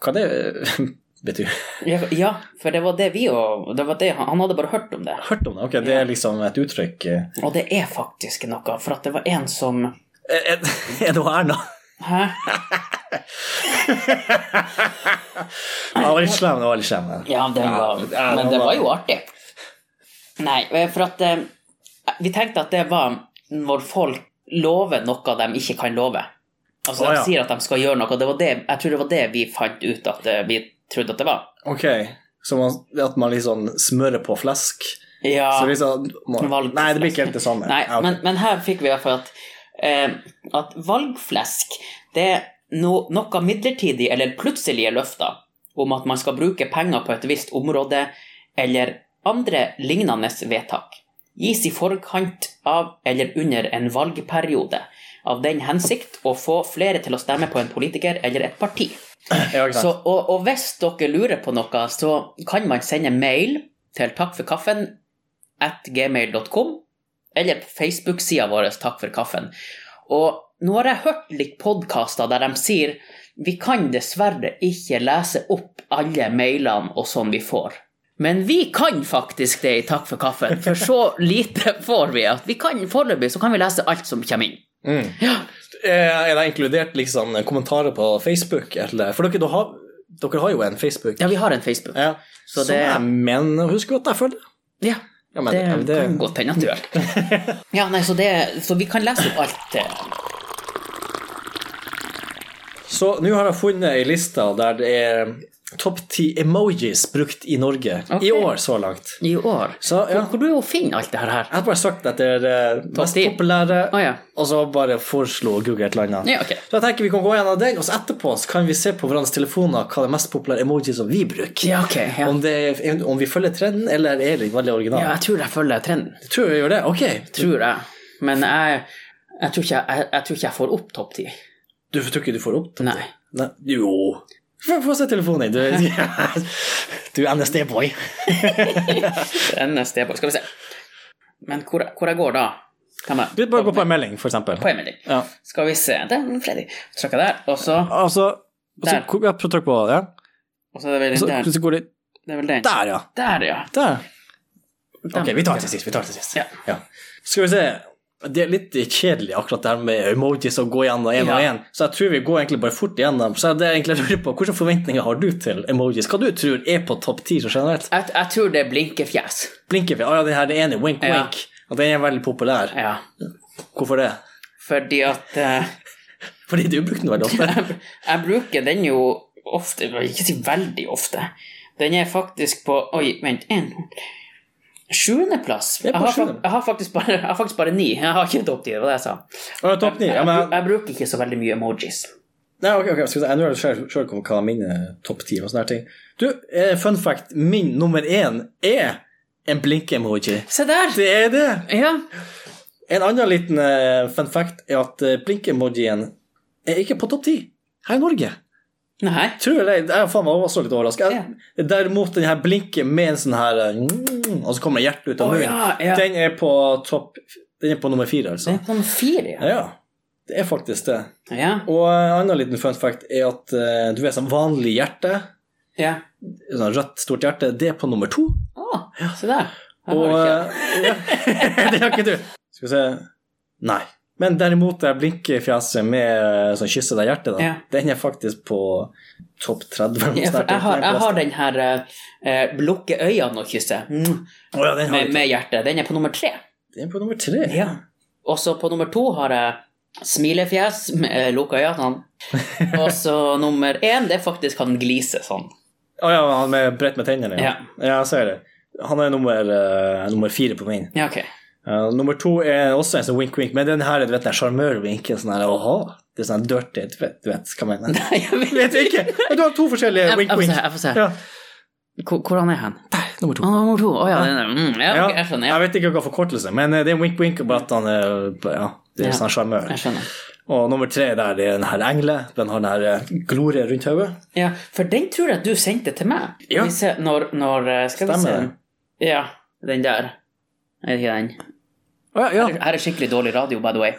S2: Hva det eh, betyr
S1: Ja, ja, for det var det vi og det var det, han, han hadde bare hørt om det.
S2: Hørt om det? Ok, det er liksom et uttrykk eh.
S1: Og det er faktisk noe, for at det var en som
S2: Er, er- er det hun Erna?
S1: Hæ?
S2: Jeg var litt slem. Jeg var litt slem.
S1: Ja, den var,
S2: ja,
S1: men
S2: den
S1: det
S2: var-
S1: var jo artig. Nei, eh, for at eh, Vi tenkte at det var når folk lover noe de ikke kan love. Altså,
S2: Å, ja.
S1: de sier at de skal gjøre noe. Det var det, jeg tror det var det vi fant ut at eh, vi trodde at det var.
S2: Ok, så man, det at man liksom smører på flesk
S1: Ja.
S2: så liksom, man,
S1: Valgflesk.
S2: Nei, det blir ikke helt det samme.
S1: Nei,
S2: Ja, ok.
S1: men, men her fikk vi i hvert fall at, eh, at valgflesk det er no, noe midlertidig eller plutselige løfter om at man skal bruke penger på et visst område eller andre lignende vedtak. Gis i forkant av eller under en valgperiode av den hensikt å få flere til å stemme på en politiker eller et parti.
S2: ja, ikke
S1: Så,
S2: sant.
S1: og, og hvis dere lurer på noe, så kan man sende mail til takkforkaffen at gmail.com, eller på Facebook-sida vår Takk for kaffen. Og nå har jeg hørt litt podkaster der de sier vi kan dessverre ikke lese opp alle mailene og sånn vi får. Men vi kan faktisk det i Takk for kaffen, for så lite får vi at vi kan foreløpig så kan vi lese alt som kommer inn.
S2: Mm. Eh, Er det inkludert liksom kommentarer på Facebook? Eller, for dere, da har, dere har jo en Facebook.
S1: Ja, vi har en Facebook.
S2: Ja.
S1: Så
S2: Som
S1: det-
S2: jeg mener Husk godt, jeg følger.
S1: Ja.
S2: Ja, men,
S1: det,
S2: det,
S1: kan godt hende at du gjør. ja, nei, så, det, så vi kan lese opp alt. eh.
S2: Så nå har jeg funnet ei liste der det er topp ti emojis brukt i Norge
S1: Ok.
S2: i år så langt.
S1: I år.
S2: Så ja,
S1: Hvor du jo finner alt det her her?
S2: jeg har bare søkt etter eh, mest
S1: 10.
S2: populære,
S1: Å ja.
S2: og så bare foreslo Google et eller annet.
S1: Ja, ok.
S2: Så jeg tenker vi kan gå gjennom den, og så etterpå så kan vi se på hverandres telefoner hva er det mest populære emojis som vi bruker.
S1: Ja, ok. Ja.
S2: Om, det er, om vi følger trenden, eller er det veldig originalt.
S1: ja, jeg tror jeg følger trenden.
S2: Jeg tror vi gjør det. Ok.
S1: Tror jeg. Men jeg, jeg, tror, ikke jeg, jeg, jeg tror ikke jeg får opp topp ti.
S2: Du tror ikke du får opp?
S1: Nei.
S2: Nei. Jo. Få få se telefonen din. Du, du er NSD-boy.
S1: NSD på. Skal vi se. Men hvor, hvor jeg går da? Kan jeg
S2: Du bare gå på en melding, for eksempel.
S1: på en melding?
S2: Ja.
S1: Skal vi se. Der, Freddy. Trykker der, og så
S2: Altså, og så,
S1: Der.
S2: hvor- ja, trykk på ja.
S1: Og så er det vel
S2: Så,
S1: den der.
S2: så går det
S1: Det er vel den.
S2: Der, ja.
S1: Altså, Der, ja.
S2: Der. Ok, vi tar det til sist. Vi tar det til sist.
S1: Ja.
S2: Skal vi se. Det er litt kjedelig akkurat det her med emojis og gå gjennom én og
S1: Ja.
S2: én, så jeg tror vi går egentlig bare fort igjennom. Så det er egentlig jeg lurer på, Hvilke forventninger har du til emojis? Hva du tror er på topp ti så generelt?
S1: Jeg, jeg tror det er blinkefjes.
S2: Blinker vi? Å ja, den her den ene, wink,
S1: Ja.
S2: wink. Og den er veldig populær.
S1: Ja.
S2: Hvorfor det?
S1: Fordi at eh,
S2: Fordi du bruker den veldig ofte.
S1: jeg, jeg bruker den jo ofte, jeg vil ikke si veldig ofte. Den er faktisk på Oi, vent. En, Sjuendeplass.
S2: Jeg
S1: Jeg,
S2: er på
S1: har fak-
S2: sjuende.
S1: jeg har faktisk bare- jeg har faktisk bare ni. Jeg har ikke topp ti, det var det jeg sa.
S2: Å, topp ni.
S1: Jeg,
S2: Ja,
S1: bru-
S2: men
S1: jeg bruker ikke så veldig mye emojis.
S2: Nei, ok, ok, skal vi se. Jeg nå er det selv, selv kommer hva mine topp ti og sånne her ting. Du, eh, fun fact, min nummer én er en blink-emoji.
S1: Se der!
S2: Det er det!
S1: Ja.
S2: En annen liten eh, fun fact er at eh, blink-emojien er ikke på topp ti her i Norge.
S1: Nei.
S2: Tror jeg, jeg er faen meg også litt overraska.
S1: Ja.
S2: Derimot den her blinken med en sånn her eh, mm, Og så kommer det hjertet ut
S1: Å,
S2: av munnen.
S1: ja, ja.
S2: Den er på topp Den er på nummer fire,
S1: Det
S2: altså.
S1: er sånn fire, ja.
S2: Ja, det er faktisk det.
S1: Ja.
S2: Og eh, en annen liten fun fact er at eh, du vet sånn vanlig hjerte,
S1: ja.
S2: sånn rødt, stort hjerte, det er på nummer to.
S1: Å, se der. Her
S2: Og
S1: har du ikke.
S2: eh, ja, Det har ikke du. Skal vi se Nei. Men derimot det blinkefjeset med eh, sånn kysse deg hjertet, da,
S1: Ja.
S2: den er faktisk på topp 30. eller noe
S1: Ja, for
S2: sånt.
S1: jeg, har, jeg har den her eh, lukke øynene og kysse mm,
S2: Å ja, den har
S1: med,
S2: jeg ikke.
S1: med hjertet. Den er på nummer tre.
S2: Den er på nummer tre.
S1: Ja. Og så på nummer to har jeg smilefjes med eh, lukka øyne. Og så nummer én, det er faktisk han gliser sånn.
S2: Å ja, han med bredt med tennene. Ja. ja, jeg ser det. Han er nummer, eh, nummer fire på min.
S1: Ja, ok.
S2: Eh, nummer to er også en sånn wink-wink, men den her er du vet, den sjarmørvinken. Sånn her, åha, det er sånn her dirty, du vet, du vet hva jeg mener.
S1: Nei, jeg vet
S2: Vet du ikke? Ja, Du har to forskjellige
S1: Jeg, jeg får
S2: wink-wink.
S1: se. jeg får se.
S2: Ja.
S1: Hvor, hvor han er han?
S2: Der,
S1: Han
S2: nummer to.
S1: er nummer to. Å ja, den er, mm, ja, ok, jeg skjønner.
S2: Jeg vet ikke hva forkortelse er, men eh, det er wink-wink, bare at han er ja, det er
S1: Ja.
S2: sånn sjarmør.
S1: Jeg skjønner.
S2: Og nummer tre der det er den her engle. Den har den her eh, glorie rundt hodet.
S1: Ja, for den tror jeg du sendte til meg.
S2: Ja.
S1: Vi ser når, når eh, Skal vi se.
S2: Stemmer
S1: Ja, den der. Er det ikke den?
S2: Å, ja, ja.
S1: Her er skikkelig dårlig radio, by the way.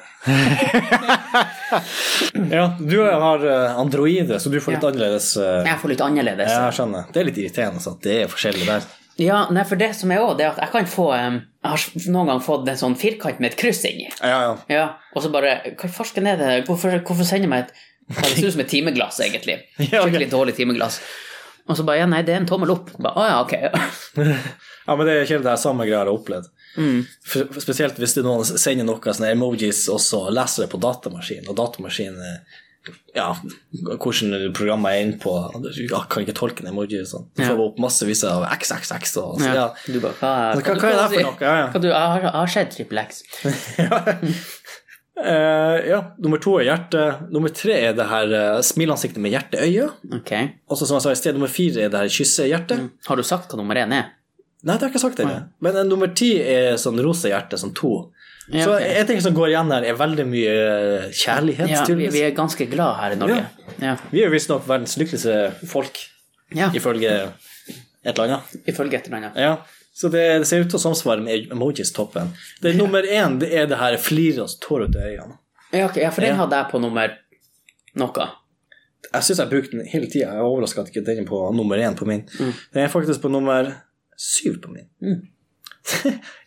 S2: ja, du har eh, androider, så du får litt
S1: Ja.
S2: annerledes eh,
S1: Jeg får litt annerledes.
S2: Ja, jeg skjønner. Det er litt irriterende så at det er forskjellig der.
S1: Ja, nei, for det som er òg, det er at jeg kan få em, Jeg har noen gang fått en sånn firkant med et kryss inni.
S2: Ja, ja.
S1: Ja, og så bare Hva i farsken er det? Hvorfor, hvorfor sender jeg meg et Det ser ut som et timeglass, egentlig.
S2: Ja, ok.
S1: Skikkelig dårlig timeglass. Og så bare Ja, nei, det er en tommel opp. Bare, Å ja, ok.
S2: Ja, men det er ikke det her samme greia jeg har opplevd.
S1: Mm.
S2: For- for Spesielt hvis det er noen som sender noe sånne emojis, og så leser det på datamaskin, og datamaskin eh, ja, hvordan programmet er inne på, du ja, kan ikke tolke en emoji og sånn. Du
S1: Ja.
S2: får opp massevis av XXX og så,
S1: Ja.
S2: ja.
S1: Du bare Hva,
S2: Men hva- hva er det her for noe? Ja, ja.
S1: Hva du, jeg har, jeg har sett Triple X.
S2: Eh, ja, nummer to er hjerte. Nummer tre er det her eh, smilansiktet med hjerte-øye.
S1: Ok.
S2: Og så, som jeg sa i sted, nummer fire er det her kysse-hjerte.
S1: Har du sagt hva nummer én er?
S2: Nei, det har jeg ikke sagt ennå. Men eh, nummer ti er sånn rosa hjerte, sånn to.
S1: Ja,
S2: Så
S1: ok.
S2: en ting som går igjen her, er veldig mye eh, kjærlighet,
S1: Ja, vi,
S2: tydeligvis.
S1: vi er ganske glad her i Norge. Ja.
S2: Vi er jo visstnok verdens lykkeligste folk,
S1: ja.
S2: ifølge et eller annet.
S1: Ifølge et eller annet.
S2: Ja. Så det, det ser ut til å samsvare med emojis-toppen. Det Nummer én det er det her fliret og tårer ut av øynene.
S1: Ja, ok, ja, for den
S2: Ja.
S1: hadde jeg på nummer noe.
S2: Jeg syns jeg brukte den hele tida. Jeg er overraska at ikke den er på nummer én på min.
S1: Mm.
S2: Den er faktisk på nummer syv på min.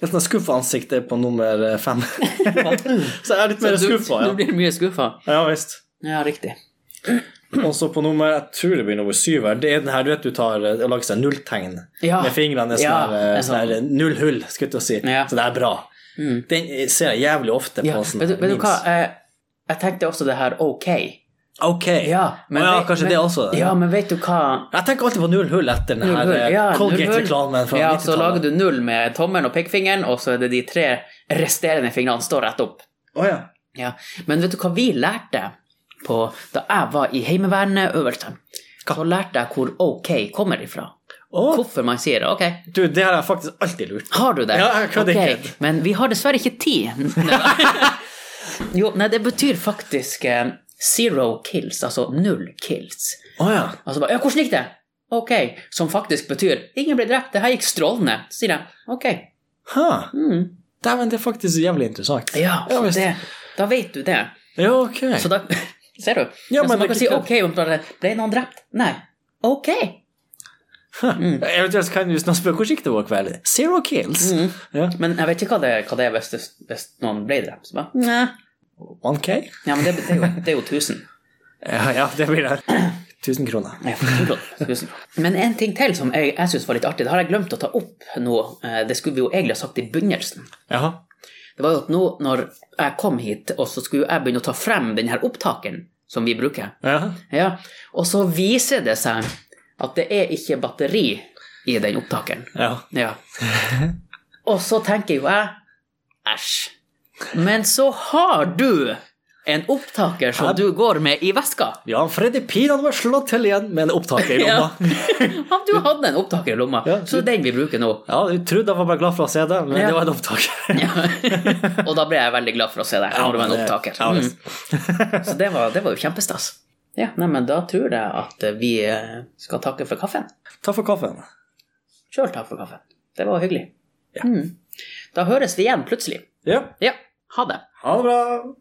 S2: Et sånt skuffa ansikt er på nummer eh, fem. Så jeg er litt mer
S1: du,
S2: skuffa,
S1: du
S2: ja.
S1: blir mye skuffa.
S2: Ja visst.
S1: Ja, riktig.
S2: Og så på nummer jeg tror det blir nummer syv her, det er den her du vet du tar eh, og lager sånn nulltegn
S1: Ja.
S2: med fingrene. Sånn
S1: Ja,
S2: her, eh,
S1: en
S2: sånn her, eh, null hull, skulle jeg til å si.
S1: Ja. Mm.
S2: Så det er bra. Den eh, ser jeg jævlig ofte
S1: Ja.
S2: på sånne
S1: Vet, du- vet du
S2: memes.
S1: hva, eh, jeg tenkte også det her ok.
S2: Ok.
S1: Ja,
S2: men, ja, kanskje det også.
S1: Ja, men vet du hva?
S2: Jeg tenker alltid på null hull etter den
S1: Null
S2: her
S1: hull,
S2: eh,
S1: ja, null
S2: Colgate-reklamen
S1: hull.
S2: fra
S1: Ja, så lager
S2: 90-tallet.
S1: du null med tommelen og pekefingeren, og så er det de tre resterende fingrene står rett opp.
S2: Å ja.
S1: Ja. Men vet du hva vi lærte på, da jeg var i heimeverneøvelse? Så lærte jeg hvor OK kommer ifra.
S2: Å,
S1: Hvorfor man sier OK.
S2: du, det har jeg faktisk alltid lurt.
S1: Har du det?
S2: Ja, jeg kan
S1: Ok,
S2: ikke.
S1: Men vi har dessverre ikke tid. jo, nei, det betyr faktisk eh, zero kills, altså null kills.
S2: Å ja.
S1: Altså bare, ja, hvordan gikk det? Ok, som faktisk betyr, ingen ble drept, det her gikk strålende, sier jeg. Ok,
S2: Ha.
S1: mm.
S2: Dæven, det er faktisk jævlig interessant.
S1: ja,
S2: Ja, visst.
S1: det, da vet du det.
S2: Ja, ok.
S1: Så da, ser du?
S2: Ja,
S1: Altså,
S2: men
S1: man
S2: det-
S1: kan si, ok, om det ble noen drept? Nei. Ok. mm.
S2: Eventuelt kan du snart spørre hvordan gikk det vår kveld? Zero kills.
S1: Mm.
S2: Ja.
S1: Men jeg vet ikke hva det, hva det er hvis, det, hvis noen ble drept. Så bare, nei.
S2: 1K?
S1: Ja, men det, det, er jo, det er jo tusen.
S2: Ja, Eh, ja, det blir det. 1000 kroner.
S1: Nei, 1000 kroner. 1000 kroner. Men en ting til som jeg, jeg syns var litt artig, det har jeg glemt å ta opp nå. Eh, Det skulle vi jo egentlig ha sagt i begynnelsen.
S2: Jaha.
S1: Det var jo at nå når jeg kom hit, og så skulle jeg begynne å ta frem den her opptakeren som vi bruker,
S2: Jaha.
S1: ja. og så viser det seg at det er ikke batteri i den opptakeren.
S2: Ja.
S1: Ja. Og så tenker jo jeg æsj. Men så har du en opptaker som du går med i veska.
S2: ja, Freddy Pin han var slått til igjen med en opptaker i
S1: Ja.
S2: lomma.
S1: Du hadde en opptaker i lomma,
S2: Ja.
S1: så det er den vi bruker nå.
S2: Ja, du trodde han var bare glad for å se deg, men
S1: Ja.
S2: det var en opptaker.
S1: Ja. Og da ble jeg veldig glad for å se deg. Når du var en
S2: det-
S1: opptaker.
S2: ja, visst.
S1: Mm. Så det var, det var jo kjempestas. Ja, nei, men da tror jeg at vi eh, skal takke for kaffen.
S2: Takk for kaffen.
S1: Sjøl takk for kaffen. Det var hyggelig.
S2: Ja.
S1: Mm. Da høres vi igjen plutselig.
S2: Ja,
S1: Ja, ha det.
S2: ha det bra.